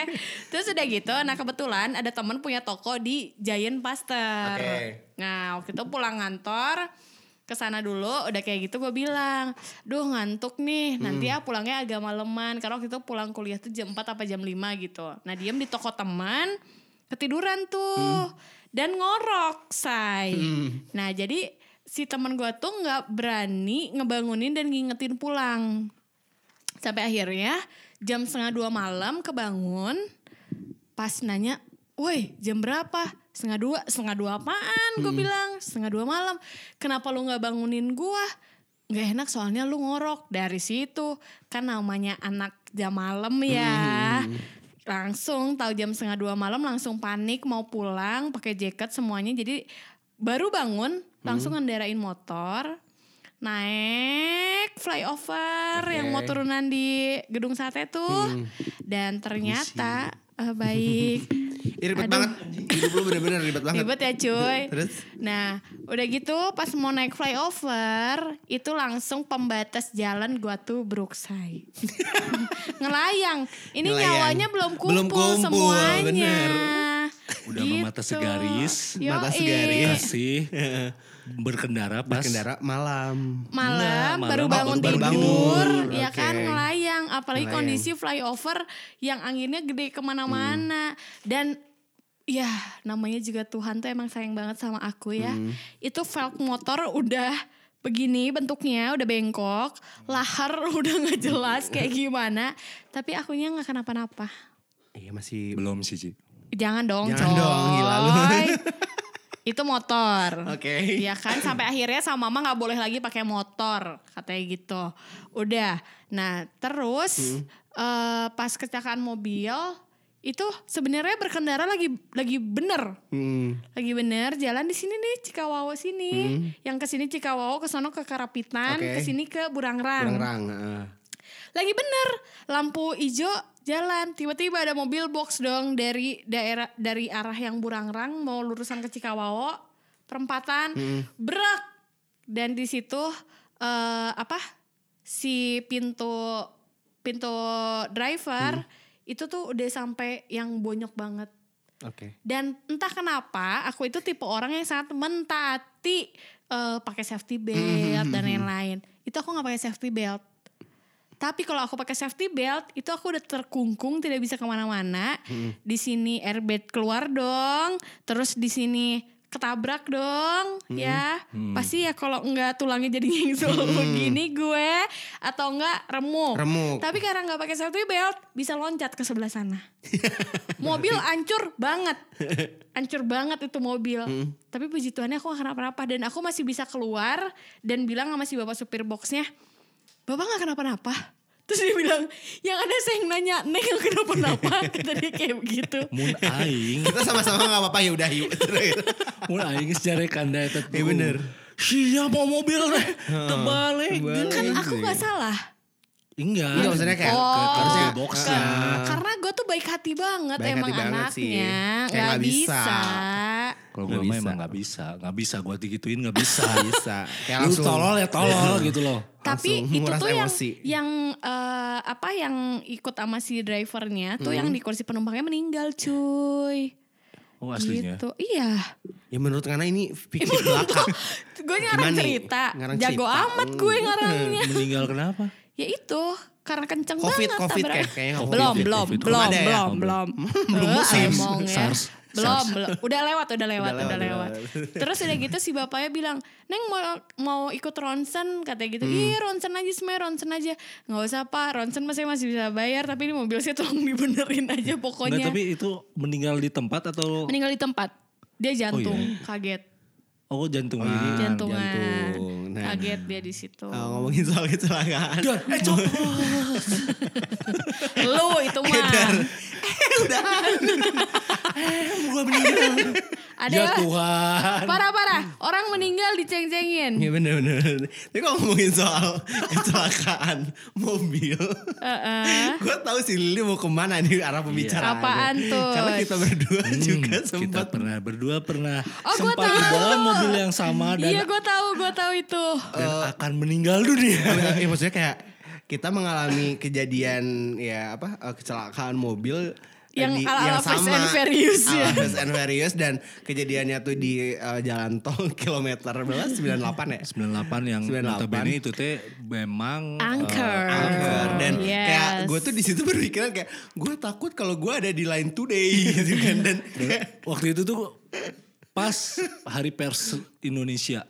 S3: Terus udah gitu, nah kebetulan ada temen punya toko di Giant Pasteur.
S2: Oke.
S3: Nah waktu itu pulang kantor, kesana dulu udah kayak gitu gue bilang duh ngantuk nih nanti ya pulangnya agak maleman karena waktu itu pulang kuliah tuh jam 4 apa jam 5 gitu nah diem di toko teman ketiduran tuh dan ngorok say nah jadi si teman gue tuh nggak berani ngebangunin dan ngingetin pulang sampai akhirnya jam setengah dua malam kebangun pas nanya woi jam berapa setengah dua setengah dua apaan gue bilang setengah dua malam kenapa lu nggak bangunin gua nggak enak soalnya lu ngorok dari situ kan namanya anak jam malam ya langsung tahu jam setengah dua malam langsung panik mau pulang pakai jaket semuanya jadi baru bangun langsung ngendarain motor naik flyover yang mau turunan di gedung sate tuh
S2: Hmm.
S3: dan ternyata eh, baik
S2: Ih, ribet
S3: Aduh.
S2: banget. Hidup lu bener-bener ribet banget.
S3: ribet ya cuy
S2: Terus?
S3: nah udah gitu pas mau naik flyover itu langsung pembatas jalan gua tuh bruksai ngelayang ini
S2: Ngelayang.
S3: nyawanya belum kumpul,
S2: Belum kumpul,
S3: semuanya Gitu.
S2: bener.
S4: Udah memata segaris,
S2: mata
S3: Yoi.
S2: segaris.
S4: kasih Iya berkendara pas
S2: Berkendara malam.
S4: Nah,
S3: malam,
S4: malam
S3: baru bangun
S2: baru
S3: tidur,
S2: bangun tidur.
S3: ya kan
S2: Oke.
S3: ngelayang apalagi
S2: Ngelayang.
S3: kondisi flyover yang anginnya gede kemana-mana
S2: Hmm.
S3: dan ya namanya juga Tuhan tuh emang sayang banget sama aku ya
S2: Hmm.
S3: itu velg motor udah begini bentuknya udah bengkok lahar udah nggak jelas kayak gimana tapi akunya nggak kenapa-napa
S2: Iya masih
S4: belum sih Ci.
S3: jangan dong
S2: Jangan
S3: coy.
S2: dong, gila lu.
S3: itu motor
S2: Oke.
S3: Iya kan sampai akhirnya sama mama nggak boleh lagi pakai motor katanya gitu. Udah. Nah
S2: Hmm.
S3: terus eh, pas kecelakaan mobil itu sebenarnya berkendara lagi lagi bener
S2: Hmm.
S3: lagi bener jalan di sini nih Cikawao sini yang ke sini Cikawao ke sono ke Karapitan
S2: Oke.
S3: ke sini ke Burangrang
S2: Kurang-kurang. heeh.
S3: lagi bener lampu hijau jalan tiba-tiba ada mobil box dong dari daerah dari arah yang burangrang mau lurusan ke Cikawao perempatan brek dan di situ eh, apa si pintu pintu driver itu tuh udah sampai yang bonyok banget
S2: Oke.
S3: dan entah kenapa aku itu tipe orang yang sangat mentaati eh, pakai safety belt dan lain-lain. Itu aku nggak pakai safety belt. Tapi kalau aku pakai safety belt itu aku udah terkungkung tidak bisa kemana-mana. Di sini airbag keluar dong. Terus di sini ketabrak dong ya pasti ya kalau enggak tulangnya jadi nyingsul begini gue atau enggak remuk
S2: Remuk.
S3: tapi karena nggak pakai safety belt bisa loncat ke sebelah sana mobil ancur banget ancur banget itu mobil
S2: Hmm.
S3: tapi puji Tuhan ya, aku gak kenapa-napa dan aku masih bisa keluar dan bilang sama si bapak supir boxnya bapak nggak kenapa-napa terus dia bilang yang ada saya yang nanya neng nggak kenapa-napa kata dia kayak begitu
S4: mun aing
S2: Kita sama-sama gak apa-apa ya udah yuk.
S4: mun aing sejarah kanda eta
S2: Iya, bener.
S4: Sia mau mobil teh terbalik.
S3: kan aku nggak salah
S4: Enggak.
S2: Enggak Iya. maksudnya kayak
S3: Oh.
S2: ke- harusnya
S4: Ke box
S2: Heeh.
S3: karena gue tuh baik hati banget
S2: Baik
S3: emang
S2: hati banget sih.
S3: anaknya
S2: Kayak
S3: nggak
S2: nggak bisa.
S3: bisa.
S4: Kalau
S2: Nggak
S4: gue mah
S2: bisa.
S4: emang nggak bisa, nggak bisa gue digituin nggak bisa.
S2: bisa. Kayak
S4: Lu
S2: langsung.
S4: tolol ya tolol gitu loh.
S3: tapi
S2: Langsung
S3: itu
S2: nguras
S3: tuh yang
S2: emosi.
S3: yang eh, apa yang ikut sama si drivernya tuh yang di kursi penumpangnya meninggal cuy
S4: Oh aslinya.
S3: gitu iya
S2: Ya menurut Ngana ini pikir belaka. Eh,
S3: gue ngarang
S2: Gimana nih?
S3: cerita
S2: Ngarang
S3: jago
S2: cerita.
S3: amat gue ngarangnya
S4: Meninggal kenapa?
S3: ya itu karena kenceng
S2: Covid,
S3: banget
S2: Covid
S3: tabrak.
S2: kayak- kayaknya Covid.
S3: belum
S4: Covid,
S3: belum
S4: Covid.
S3: belum
S2: Belum ada ya?
S3: belum belum
S2: Belum
S3: Eh,
S2: musim.
S3: emong ya.
S4: SARS,
S3: belum
S4: SARS.
S3: belum udah lewat udah lewat
S2: Udah
S3: udah,
S2: lewat,
S3: lewat,
S2: udah
S3: terus udah gitu si bapaknya bilang neng mau mau ikut ronsen katanya
S2: Hmm.
S3: gitu ih ronsen aja semuanya ronsen aja nggak usah pak ronsen masih masih bisa bayar tapi ini mobil saya tolong dibenerin
S4: Enggak
S3: aja pokoknya
S4: tapi itu meninggal di tempat atau
S3: meninggal di tempat
S2: Oh,
S3: dia
S2: iya?
S3: jantung kaget
S4: oh jantung ini?
S3: jantungan
S2: Ah, jantung. Nah.
S3: kaget dia di situ
S2: Oh, ngomongin soal kecelakaan.
S4: Eh coba.
S3: lu itu mah Eh,
S4: gue Eh, meninggal. ya
S3: ada
S4: Tuhan.
S3: Parah-parah, orang meninggal diceng-cengin.
S2: Iya bener-bener. Tapi kalau ngomongin soal kecelakaan mobil.
S3: Eh, Heeh.
S2: Gue tahu sih Lili mau kemana nih arah pembicaraan.
S3: Apaan tuh?
S2: Karena kita berdua juga
S4: Hmm, Kita
S2: sempat.
S4: pernah berdua pernah
S3: Oh, gua
S4: sempat di
S3: tahu.
S4: dalam mobil yang sama dan
S3: Iya gue tahu, gue tahu itu.
S4: dan akan meninggal dunia.
S2: ya Eh, maksudnya kayak kita mengalami kejadian ya apa eh, kecelakaan mobil
S3: Yang
S2: di-
S3: ala-ala Fast and Furious ya.
S2: Ala Fast and Furious dan kejadiannya tuh di eh, jalan tol kilometer berapa 98 ya
S4: 98 yang
S2: 98.
S4: notabene itu teh memang eh,
S3: Angker.
S2: Angker. dan
S3: Yes.
S2: kayak gue tuh di situ berpikiran kayak gue takut kalau gue ada di line today gitu kan dan kayak,
S4: waktu itu tuh pas hari pers Indonesia.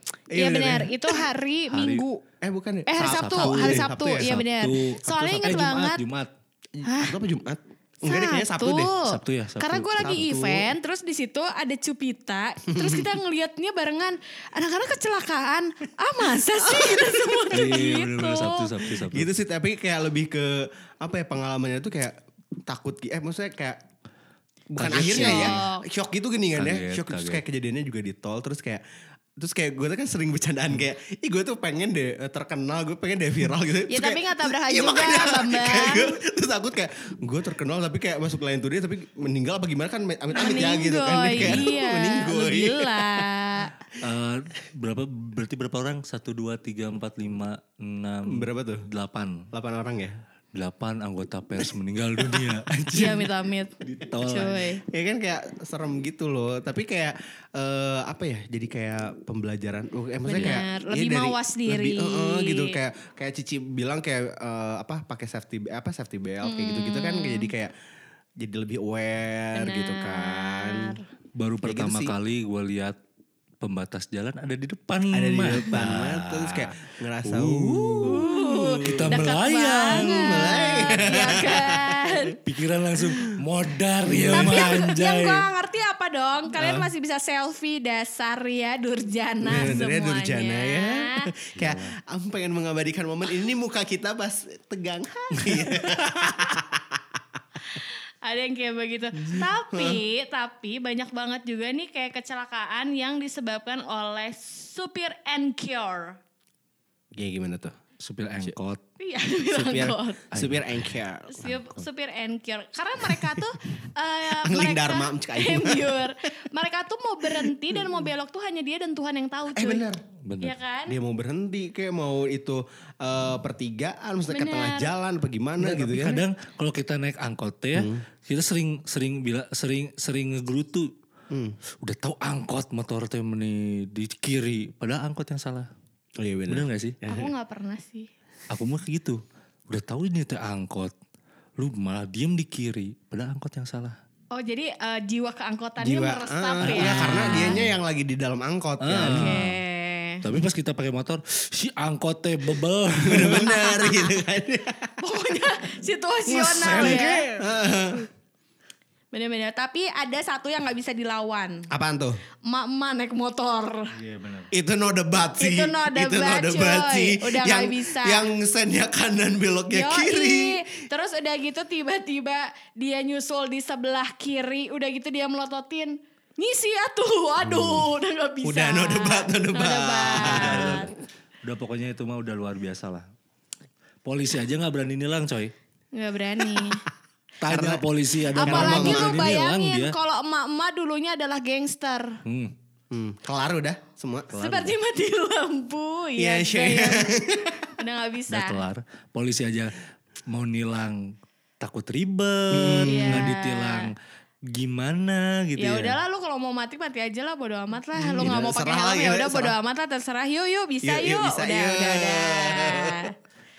S2: iya
S3: Iya benar, itu hari Minggu.
S2: eh bukan ya
S3: Eh hari Sabtu, hari Sabtu,
S2: ya.
S3: iya benar.
S4: Sabtu.
S3: Soalnya
S4: Sabtu,
S3: inget
S4: eh, Jumat,
S3: banget.
S4: Jumat.
S2: Sabtu apa Jumat enggak deh kayaknya Sabtu deh
S4: Sabtu ya, Sabtu.
S3: Karena gue lagi
S2: Sabtu.
S3: event, terus di situ ada cupita, terus kita ngelihatnya barengan. Anak-anak kecelakaan. Ah masa sih kita semua tuh
S4: Iya, bener-bener Sabtu,
S3: gitu.
S4: Sabtu, Sabtu.
S2: gitu sih tapi kayak lebih ke apa ya pengalamannya tuh kayak takut gi- eh maksudnya kayak bukan
S4: Kaget
S2: akhirnya
S4: sih.
S2: ya shock gitu gini kan ya
S4: Kaget,
S2: shock terus
S4: kaget.
S2: kayak kejadiannya juga di tol terus kayak terus kayak gue tuh kan sering bercandaan kayak ih gue tuh pengen deh eh, terkenal gue pengen deh viral gitu Terus
S3: Ya, tapi
S2: kayak-
S3: nggak tabrakan
S2: Iya,
S3: juga, Bambang.
S2: kayak gue, terus takut kayak gue terkenal tapi kayak masuk lain today tapi meninggal apa gimana kan amit-amit ya gitu kan Jadi
S3: Meninggoy,
S2: kayak
S3: iya. Lu
S2: meninggoy
S3: gila.
S4: Eh, berapa berarti berapa orang? 1 2 3 4 5 6
S2: berapa tuh
S4: 8.
S2: delapan orang ya
S4: 8 anggota pers meninggal dunia. Anjir.
S3: Iya amit-amit.
S4: tol.
S3: Cuy.
S2: ya kan kayak serem gitu loh tapi kayak eh, apa ya jadi kayak pembelajaran Oh, eh, maksudnya kayak
S3: Benar, lebih mawas
S2: lebih,
S3: diri.
S2: eh, eh, gitu kayak kayak Cici bilang kayak eh, apa pakai safety apa safety belt kayak gitu gitu kan kayak jadi kayak jadi lebih aware gitu kan
S4: Baru
S2: Kayak gitu
S4: pertama
S2: sih.
S4: kali gue lihat pembatas jalan ada di depan Nah.
S2: ada di
S4: mata.
S2: depan mata, terus kayak ngerasa
S4: Uh, kita melayang.
S3: banget, ya kan?
S4: Pikiran langsung modar
S2: Iya.
S4: Nah, ya
S3: Tapi yang, yang
S4: manjay.
S3: gue ngerti apa dong? Kalian masih bisa selfie dasar ya durjana
S2: Bener-bener
S3: semuanya.
S2: durjana ya Kayak aku pengen mengabadikan momen ini muka kita pas tegang
S3: Ada yang kayak begitu.
S2: Hmm.
S3: tapi tapi banyak banget juga nih kayak kecelakaan yang disebabkan oleh supir and cure.
S2: Kayak gimana tuh?
S4: Supir angkot.
S3: Iya, bilang
S2: Supir, Ah,
S3: God.
S2: supir anchor
S3: Sup- supir and cure karena mereka tuh eh,
S2: Angling
S3: mereka
S2: Dharma, Cik Ayu.
S3: endure mereka tuh mau berhenti dan mau belok tuh hanya dia dan Tuhan yang tahu cuy
S2: Eh bener
S3: Iya
S4: Bener.
S3: kan
S2: dia mau berhenti kayak mau itu eh, pertigaan maksudnya ke
S3: Bener.
S2: tengah jalan apa gimana gitu
S4: Tapi
S2: kan
S4: kadang kalau kita naik angkot teh ya,
S2: Hmm.
S4: kita sering sering bila sering sering ngegerutu.
S2: Hmm.
S4: Udah tahu angkot motor teh meni di kiri, padahal angkot yang salah.
S2: oh, iya benar
S4: Bener gak sih?
S3: aku nggak pernah sih
S4: Aku mah gitu. Udah tahu ini teh angkot. Lu malah diem di kiri, padahal angkot yang salah.
S3: Oh jadi eh, jiwa keangkotannya meresap
S2: Ah,
S3: ya.
S2: iya, karena dianya yang lagi di dalam angkot kan.
S3: Oke.
S4: Tapi pas kita pakai motor, si angkot teh bebel.
S2: Bener-bener gitu kan.
S3: Pokoknya situasional ya. Bener-bener. Tapi ada satu yang nggak bisa dilawan.
S2: Apaan tuh?
S3: Emak-emak naik motor.
S4: Iya benar.
S2: Itu no debat sih.
S3: Itu no debat,
S2: no
S3: cuy.
S2: debat sih.
S3: Udah
S2: yang,
S3: nggak bisa.
S2: Yang sennya kanan beloknya
S3: Yoi.
S2: kiri.
S3: Terus udah gitu tiba-tiba dia nyusul di sebelah kiri. Udah gitu dia melototin. Ngisi atuh. Aduh udah nggak bisa.
S2: Udah no debat, no debat.
S3: debat.
S4: Udah pokoknya itu mah udah luar biasa lah. Polisi aja nggak berani nilang coy.
S3: Nggak berani.
S4: Tanya polisi ada orang
S3: Apalagi
S4: nggak
S3: lu
S4: berani nilang
S3: bayangin
S4: dia.
S3: kalau emak-emak dulunya adalah gangster.
S4: Hmm.
S2: Hmm, kelar udah semua.
S3: Seperti mati lampu. Ya,
S2: ya. Iya, sure.
S3: kayak Udah gak bisa.
S4: Udah kelar. Polisi aja mau nilang takut ribet,
S3: Iya.
S4: nggak ditilang gimana gitu
S3: Ya
S4: ya.
S3: udahlah lu kalau mau mati mati aja lah bodo amat lah. Lu
S2: Iya,
S3: nggak mau pakai
S2: serah
S3: helm
S2: lah,
S3: ya
S2: iya,
S3: udah bodo
S2: serah.
S3: amat lah terserah. Yuk yuk bisa
S2: Yuk, yuk,
S3: yuk.
S2: bisa,
S3: udah,
S2: yuk.
S3: udah udah.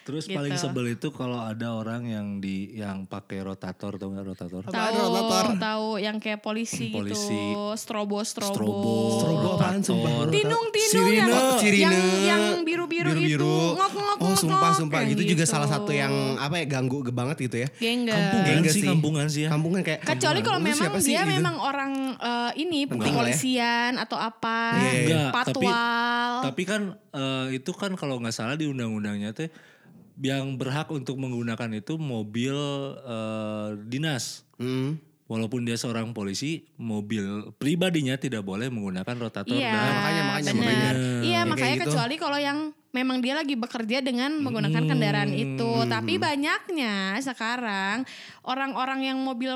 S4: Terus
S3: Gitu.
S4: paling sebel itu kalau ada orang yang di yang pakai rotator atau enggak rotator.
S2: Apaan
S3: Tahu
S2: rotator?
S3: tahu yang kayak polisi,
S4: Polisi.
S3: gitu. Strobo strobo.
S4: Strobo.
S2: Strobo apaan, sumpah?
S4: rotator.
S3: Tinung tinung yang
S2: Oh, sirine.
S3: yang yang biru-biru, itu. Ngok ngok
S2: Oh,
S3: ngok,
S2: sumpah
S3: ngok,
S2: sumpah
S3: kayak
S2: gitu, juga salah satu yang apa ya ganggu ge banget gitu ya.
S3: Gengga.
S4: Kampungan
S2: Gengga
S4: sih, kampungan sih ya.
S2: Kampungan kayak
S3: Kecuali
S2: kampungan.
S3: kalau
S2: Lu
S3: memang
S2: siapa sih,
S3: dia
S2: gitu.
S3: memang orang eh, ini
S2: Penting
S3: kepolisian atau apa,
S2: Iya, iya,
S4: Enggak, tapi
S3: patwal.
S4: tapi kan eh, itu kan kalau nggak salah di undang-undangnya teh yang berhak untuk menggunakan itu mobil eh, dinas.
S2: Hmm.
S4: Walaupun dia seorang polisi, mobil pribadinya tidak boleh menggunakan rotator
S3: Iya,
S4: dan
S2: Nah, makanya, makanya,
S3: bener.
S2: makanya.
S3: Iya,
S2: Ya, kayak
S3: makanya
S2: gitu.
S3: kecuali kalau yang memang dia lagi bekerja dengan
S2: Hmm.
S3: menggunakan kendaraan itu. Tapi banyaknya sekarang orang-orang yang mobil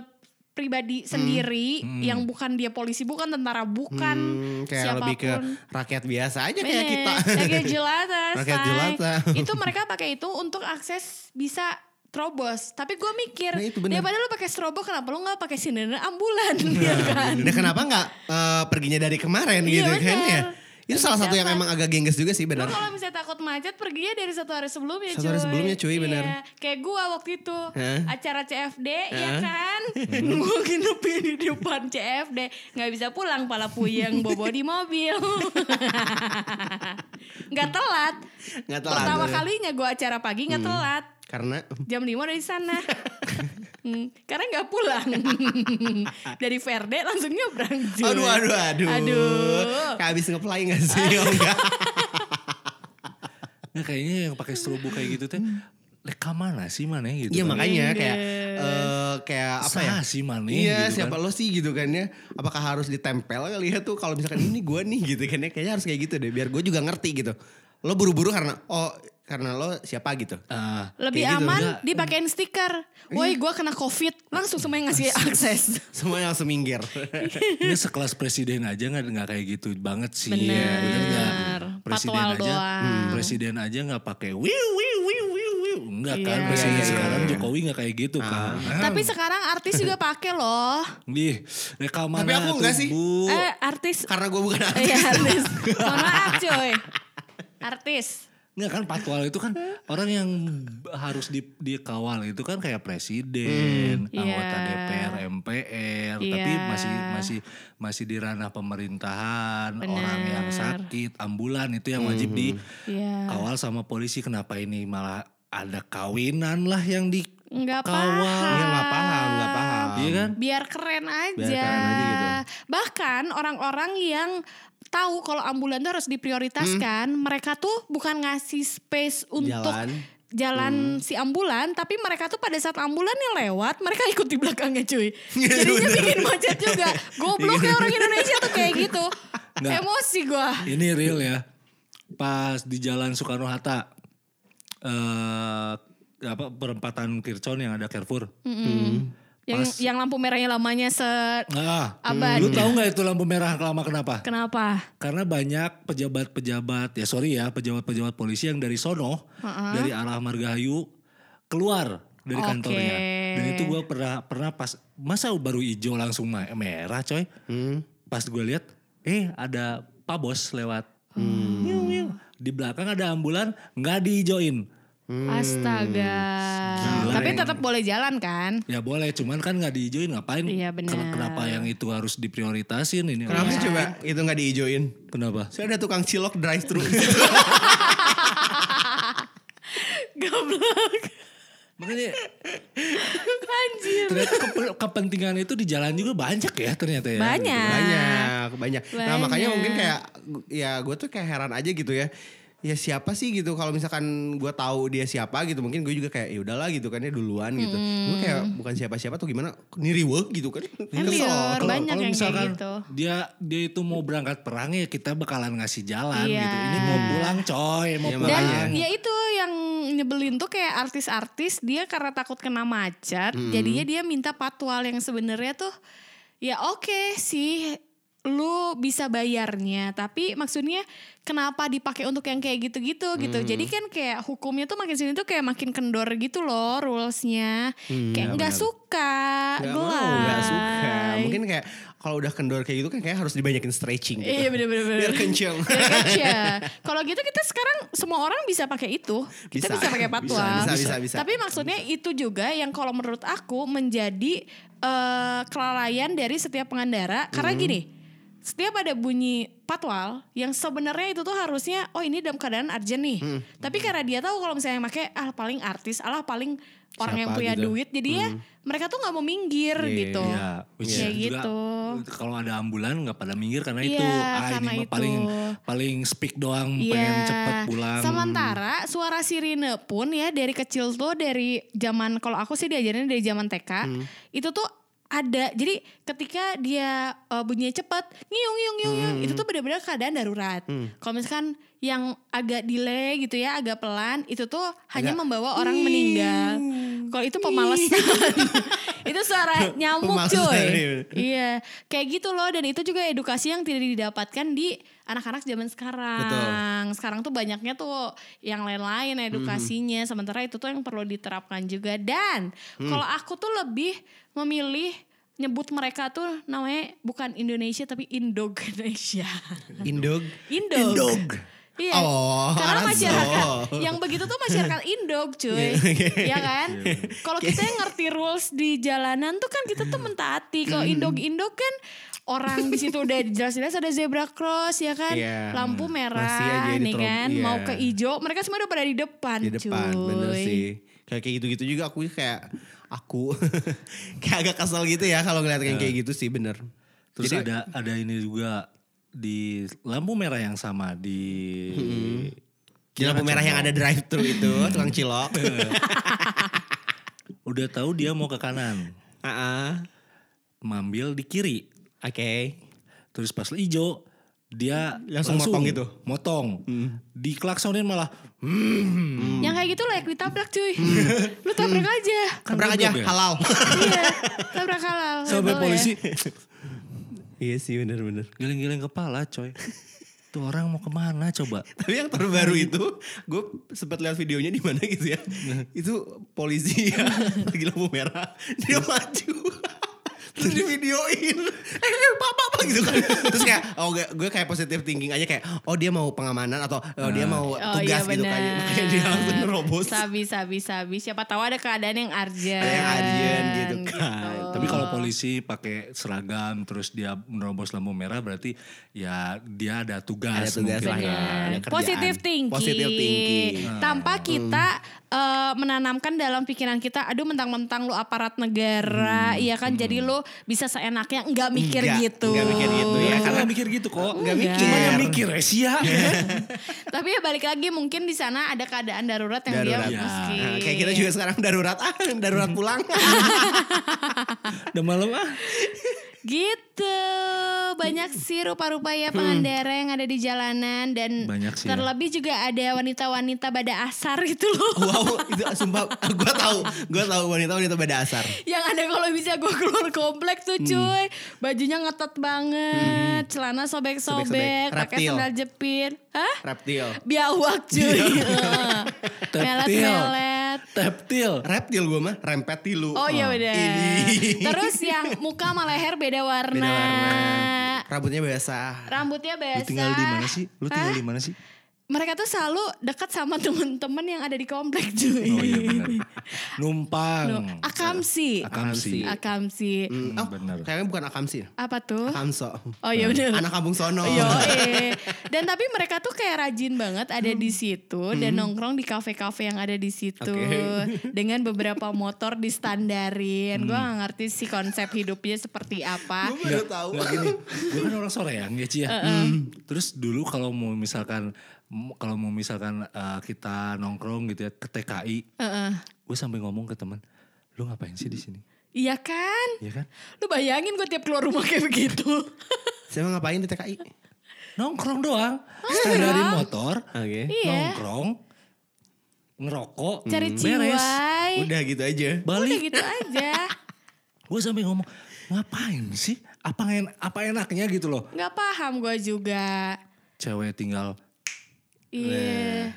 S3: pribadi
S2: Hmm.
S3: sendiri yang bukan dia polisi, bukan tentara, bukan
S2: Hmm, kayak
S3: kan siapapun.
S2: lebih ke rakyat biasa aja kayak
S3: Bener,
S2: kita.
S3: Kayak gitu jelata,
S2: Rakyat
S3: say.
S2: jelata.
S3: Itu mereka pakai itu untuk akses bisa terobos. Tapi gue mikir,
S2: Nah, itu bener.
S3: daripada lu pakai strobo, kenapa lu nggak pakai sirene ambulan? Iya kan?
S2: Nah kenapa nggak eh, perginya dari kemarin
S3: Iya,
S2: gitu kan
S3: bener.
S2: ya? Itu salah satu yang
S3: Siapa?
S2: emang agak gengges juga sih
S3: Lu
S2: benar.
S3: kalau misalnya takut macet, perginya dari satu hari sebelumnya
S2: Satu hari sebelumnya, cuy, bener.
S3: Iya. Kayak gue waktu itu,
S2: Hah?
S3: acara CFD, ya kan? gue nginepin di depan CFD. Nggak bisa pulang, pala puyeng, bobo di mobil. nggak telat.
S2: Nggak telat. Hmm.
S3: Pertama kalinya gue acara pagi nggak telat.
S2: Karena
S3: jam 5 udah di sana. Hmm, karena nggak pulang dari Verde langsung nyebrang cuy.
S2: aduh aduh aduh.
S3: Aduh.
S2: Kayak habis ngeplay nggak sih? Oh, enggak.
S4: Nah, kayaknya yang pakai strobo kayak gitu teh
S3: Hmm.
S4: leka mana sih mana gitu.
S2: Iya
S4: kan.
S2: makanya kayak eh, kayak apa ya?
S4: Sah sih mana
S2: Iya
S4: gitu
S2: siapa
S4: kan.
S2: lo sih gitu kan ya Apakah harus ditempel kali ya tuh Kalau misalkan ini gue nih gitu kan ya Kayaknya harus kayak gitu deh Biar gue juga ngerti gitu Lo buru-buru karena Oh karena lo siapa gitu
S4: Ah,
S3: Lebih
S2: Kayak gitu. Iya.
S3: aman
S4: Enggak.
S3: dipakein stiker. Woi, gua kena Covid. Langsung semua yang ngasih akses.
S2: Semua yang seminggir
S4: ini sekelas presiden aja nggak nggak kayak gitu banget sih.
S3: Bener.
S4: bener nggak? Presiden
S3: Patwal
S4: aja,
S3: doang.
S4: hmm, presiden aja nggak pakai wiu wiu wiu wiu wiu. Enggak kan
S3: Iya.
S4: presiden
S2: Iya, iya,
S4: sekarang
S2: iya.
S4: Jokowi nggak kayak gitu kan.
S2: Ah.
S3: Tapi sekarang artis juga pakai loh.
S4: Ih, rekaman
S2: Tapi aku nggak sih.
S4: Bu.
S3: Eh, artis.
S2: Karena gue bukan artis
S3: Iya, artis. Mohon maaf, cuy. Artis.
S4: Nggak kan patwal itu kan orang yang harus di, dikawal itu kan kayak presiden, anggota
S3: Iya.
S4: DPR, MPR, tapi
S3: Iya.
S4: masih masih masih di ranah pemerintahan,
S3: Benar.
S4: orang yang sakit, ambulan itu yang wajib
S2: Hmm.
S3: Iya.
S4: dikawal sama polisi. Kenapa ini malah ada kawinan lah yang di Kawal.
S3: Enggak paham.
S2: Iya nggak paham nggak paham
S4: Iya kan?
S3: biar keren aja.
S4: Biar keren aja gitu.
S3: Bahkan orang-orang yang tahu kalau ambulan tuh harus diprioritaskan,
S4: Hmm.
S3: mereka tuh bukan ngasih space untuk
S2: Jalan.
S4: Hmm.
S3: jalan si ambulan, tapi mereka tuh pada saat ambulan yang lewat, mereka ikut di belakangnya cuy.
S4: Iya,
S3: Jadinya bikin macet juga. Gobloknya orang Indonesia tuh kayak gitu.
S4: Nggak.
S3: Emosi gua.
S4: Ini real ya. Pas di Jalan Soekarno Hatta eh apa perempatan Kircon yang ada Carrefour.
S3: Yang yang lampu merahnya lamanya se
S4: Ah, lu
S3: Abadi.
S4: tahu nggak itu lampu merah lama kenapa?
S3: kenapa?
S4: Karena banyak pejabat-pejabat ya sorry ya pejabat-pejabat polisi yang dari sono dari arah Margahayu keluar dari
S3: Oke.
S4: kantornya. Dan itu gua pernah pernah pas masa baru hijau langsung ma- merah coy.
S2: Hmm.
S4: Pas gue lihat eh ada Pak Bos lewat.
S2: Hmm.
S4: Hmm. Miu, miu. Di belakang ada ambulan nggak dihijauin.
S3: Astaga. Tapi tetap boleh jalan kan?
S4: Ya boleh, cuman kan nggak diijoin ngapain?
S3: Iya, benar.
S4: Ken- Kenapa yang itu harus diprioritasin ini? Iya.
S2: Kenapa sih coba itu nggak diijoin?
S4: Kenapa?
S2: Saya ada tukang cilok drive thru.
S3: Goblok.
S4: Makanya
S3: Anjir.
S4: ternyata kepe- kepentingan itu di jalan juga banyak ya ternyata ya.
S3: Banyak.
S2: Iya, gitu. banyak, banyak. Nah makanya
S3: Banyak.
S2: mungkin kayak ya gue tuh kayak heran aja gitu ya. Ya siapa sih gitu kalau misalkan gue tahu dia siapa gitu mungkin gue juga kayak ya udahlah gitu kan ya duluan gitu. Gue kayak bukan siapa-siapa tuh gimana niriwek gitu kan.
S3: Emang
S2: Kesel.
S3: iya.
S4: Kalau-
S3: Banyak
S4: kalau
S3: yang kayak
S4: misalkan
S3: gitu.
S4: Dia dia itu mau berangkat perang ya kita bekalan ngasih jalan
S3: Iya.
S4: gitu. Ini mau pulang coy, mau
S2: Iya,
S4: pulang.
S2: makanya.
S3: Dan ya itu yang nyebelin tuh kayak artis-artis dia karena takut kena macet, jadinya dia minta patwal yang sebenarnya tuh ya oke sih lu bisa bayarnya, tapi maksudnya kenapa dipakai untuk yang kayak gitu-gitu gitu. Jadi kan kayak hukumnya tuh makin sini tuh kayak makin kendor gitu loh rulesnya.
S2: Mm,
S3: kayak nggak suka,
S2: Gak
S3: gelai.
S2: iya, mau, gak suka. Mungkin kayak kalau udah kendor kayak gitu kan kayak harus dibanyakin stretching gitu.
S3: Iya bener-bener.
S2: Biar kenceng.
S3: Aja. Ya kan? Kalau gitu kita sekarang semua orang bisa pakai itu. Kita
S2: Bisa.
S3: bisa, pakai patwa.
S2: Bisa, bisa, bisa, bisa.
S3: Tapi maksudnya itu juga yang kalau menurut aku menjadi eh, kelalaian dari setiap pengendara karena
S2: Hmm.
S3: gini. Setiap ada bunyi patwal yang sebenarnya itu tuh harusnya oh ini dalam keadaan urgent nih.
S2: Hmm.
S3: Tapi karena dia tahu kalau misalnya yang pakai ah paling artis, alah paling orang
S2: Siapa
S3: yang punya
S2: gitu.
S3: duit jadi ya mereka tuh nggak mau minggir
S2: Iya,
S3: gitu.
S4: Iya, which is
S3: Kayak
S4: juga
S3: gitu.
S4: Kalau ada ambulan nggak pada minggir karena
S3: Iya,
S4: itu. Ah ini
S3: karena
S4: mah
S3: itu.
S4: paling paling speak doang
S3: Iya.
S4: pengen cepet pulang.
S3: Sementara suara sirine pun ya dari kecil tuh dari zaman kalau aku sih diajarin dari zaman TK
S4: Hmm.
S3: itu tuh ada. Jadi ketika dia uh, bunyinya cepet, ngiung ngiung ngiung, ngiung,
S4: Hmm.
S3: itu tuh benar-benar keadaan darurat. Kalau misalkan yang agak delay gitu ya, agak pelan, itu tuh hanya membawa orang meninggal. Kalau itu pemalasan. itu suara nyamuk
S2: Pemalasan,
S3: cuy.
S2: iya.
S3: Iya, kayak gitu loh dan itu juga edukasi yang tidak didapatkan di anak-anak zaman sekarang. Sekarang tuh banyaknya tuh yang lain-lain edukasinya, sementara itu tuh yang perlu diterapkan juga. Dan kalau aku tuh lebih memilih nyebut mereka tuh namanya bukan Indonesia tapi Indonesia.
S2: Indog.
S3: Indog. Iya.
S2: Oh,
S3: Karena
S2: aso.
S3: masyarakat yang begitu tuh masyarakat Indog, cuy. Iya kan? Kalau kita yang ngerti rules di jalanan tuh kan kita tuh mentaati.
S2: Hmm.
S3: Kalau Indog-Indog kan orang di situ udah jelas-jelas ada zebra cross ya kan?
S2: Iya.
S3: Lampu
S2: Masih aja
S3: merah
S2: di
S3: nih
S2: terop-
S3: kan,
S2: iya.
S3: mau ke ijo, mereka semua udah pada di depan,
S2: di depan
S3: cuy.
S2: bener sih kayak kayak gitu-gitu juga aku kayak aku kayak agak kesel gitu ya kalau ngeliat yang kayak gitu sih bener
S4: Terus
S2: Jadi-
S4: ada ada ini juga di lampu merah yang sama di
S2: di lampu merah yang ada drive thru itu tukang cilok
S4: udah tahu dia mau ke kanan,
S2: Heeh.
S4: mambil di kiri.
S2: oke
S4: Terus pas ijo dia
S2: Langsung motong gitu.
S4: Motong. Diklaksonin malah
S2: Hmm.
S3: Yang kayak gitu layak ditabrak, cuy. Lu tabrak aja.
S2: tabrak aja
S4: goblok ya?
S2: halal
S3: Iya, tabrak halal.
S4: sampai
S3: Betul ya.
S4: polisi
S2: iya sih bener-bener
S4: giling-giling kepala, coy. Tuh orang mau kemana coba?
S2: tapi yang terbaru itu gue sempat lihat videonya di mana gitu ya itu polisi ya lagi lampu merah dia maju terus di videoin eh eh, pak pak pak gitu kan terus kayak oh gue, gue kayak positive thinking aja kayak oh dia mau pengamanan atau oh, dia mau
S3: Oh
S2: tugas
S3: iya
S2: gitu kan
S3: benar.
S2: makanya dia langsung nerobos
S3: Sabi, sabi, sabi. Siapa tahu ada keadaan yang arjen.
S2: Ada yang urgent gitu kan.
S4: Nah, Tapi kalau polisi pakai seragam terus dia menerobos lampu merah berarti ya dia ada tugas,
S2: Ada tugas
S4: mungkin
S2: lah ya.
S4: kan.
S2: ada
S3: Benar.
S2: kerjaan.
S3: Positive thinking.
S2: Positive thinking. Hmm.
S3: Tanpa kita eh, menanamkan dalam pikiran kita, aduh mentang-mentang lu aparat negara, iya kan? Jadi lu bisa seenaknya nggak mikir
S2: Hmm. Nggak,
S3: gitu.
S2: nggak mikir gitu
S4: Ya,
S2: ya karena
S4: karena mikir gitu kok.
S3: Nggak mikir.
S4: Cuma yang mikir Asia.
S3: Tapi ya balik lagi mungkin di sana ada keadaan darurat yang
S2: darurat.
S3: dia
S4: Ya.
S3: mesti.
S2: Nah, kayak kita juga sekarang darurat ah, darurat pulang.
S4: Udah malam ah.
S3: Gitu.
S4: Hmm.
S3: Banyak sih rupa-rupa ya pengendara yang ada di jalanan dan
S4: Banyak sih ya.
S3: terlebih juga ada wanita-wanita pada asar gitu
S4: Oh.
S3: loh.
S2: wow, itu sumpah gue tahu, gue tahu wanita wanita pada asar.
S3: Yang ada kalau bisa gue keluar komplek tuh
S4: Hmm.
S3: cuy. Bajunya ngetat banget, celana sobek-sobek,
S2: Sobek-sobek.
S3: pakai
S2: Reptil.
S3: sandal jepit. Hah?
S2: Reptil.
S3: Biawak cuy. Heeh. Melet-melet.
S4: Teptil.
S2: Reptil gue mah, rempet tilu.
S3: Oh iya bener.
S2: Ini.
S3: Terus yang muka sama leher beda warna.
S2: Beda warna. Rambutnya biasa.
S3: Rambutnya biasa.
S4: Lu tinggal di mana sih? Lu tinggal
S3: Hah?
S4: di mana sih?
S3: mereka tuh selalu dekat sama temen-temen yang ada di komplek cuy.
S4: Oh iya benar. Numpang.
S3: No, Akamsi.
S4: Akamsi.
S3: Akamsi.
S2: Hmm, oh,
S4: bener.
S2: kayaknya bukan akamsi.
S3: Apa tuh?
S2: Akamso.
S3: Oh iya benar.
S2: Anak kampung sono.
S3: Yo, Dan tapi mereka tuh kayak rajin banget ada di
S2: Hmm.
S3: situ dan nongkrong di kafe-kafe yang ada di situ
S2: Oke.
S3: dengan beberapa motor
S4: Hmm.
S3: distandarin. Gua nggak ngerti sih konsep hidupnya seperti apa.
S2: Gue baru tahu.
S4: Nggak gini, gue kan orang sorean ya Ci ya. Hmm. Terus dulu kalau mau misalkan m- kalau mau misalkan eh, kita nongkrong gitu ya ke TKI,
S3: Heeh.
S4: gue sampai ngomong ke teman, lu ngapain sih di sini?
S3: Iya kan?
S4: Iya kan?
S3: Lu bayangin gue tiap keluar rumah kayak begitu.
S2: Saya mau ngapain di TKI?
S4: Nongkrong doang. Standarin motor,
S2: Oke.
S3: Oh, Iya.
S4: nongkrong, ngerokok,
S3: Cari
S4: Hmm, beres.
S3: ciwai.
S2: Udah gitu aja.
S3: Udah
S4: Balik
S3: gitu aja.
S4: gue sampai ngomong ngapain sih apa en apa enaknya gitu loh
S3: nggak paham gue juga.
S4: cewek tinggal
S3: Iya.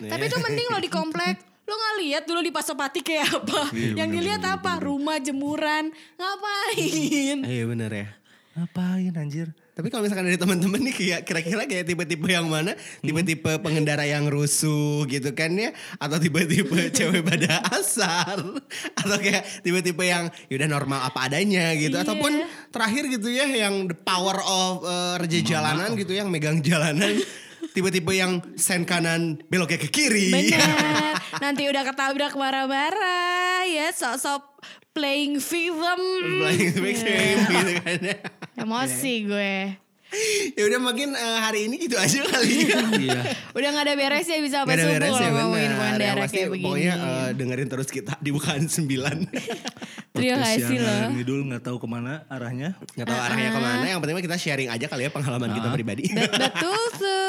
S3: Tapi itu mending lo di komplek. Lo nggak lihat dulu di Pasopati kayak apa?
S2: Iya,
S3: Yang dilihat apa? Rumah jemuran. Ngapain?
S2: Iya bener ya.
S4: ngapain anjir
S2: Tapi kalau misalkan dari teman-teman nih kayak kira-kira kayak tipe-tipe yang mana? Tipe-tipe pengendara yang rusuh gitu kan ya atau tipe-tipe cewek pada asar atau kayak tipe-tipe yang yaudah normal apa adanya gitu
S3: Iya.
S2: ataupun terakhir gitu ya yang the power of eh, reja jalanan gitu yang megang jalanan tipe-tipe yang sen kanan beloknya ke kiri.
S3: Bener. Nanti udah ketabrak bara-bara. Ya sok-sok playing film.
S2: Playing the game gitu kan ya.
S3: Emosi gue.
S2: Ya udah makin eh, hari ini gitu aja kali ya.
S4: iya
S3: Udah gak ada beres ya bisa
S2: Gak ada
S3: sampai subuh
S2: beres ya,
S3: lo ngomongin
S2: benar. Yang
S3: Wandara
S2: pasti
S3: kayak begini.
S2: Pokoknya eh, dengerin terus kita di bukaan 9.
S3: Terima
S4: Podcast
S3: kasih
S4: yang
S3: loh.
S4: ngalor ngidul nggak tahu kemana arahnya
S2: Gak tau
S3: Ah.
S2: arahnya kemana, yang penting mah kita sharing aja kali ya pengalaman kita pribadi.
S3: Betul tuh.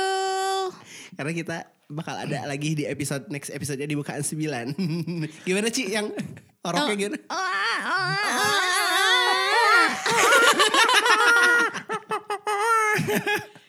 S2: Karena kita bakal ada lagi di episode next episode di bukaan 9. gimana Ci yang oroknya gitu?
S3: Ah, ah, ah, ah.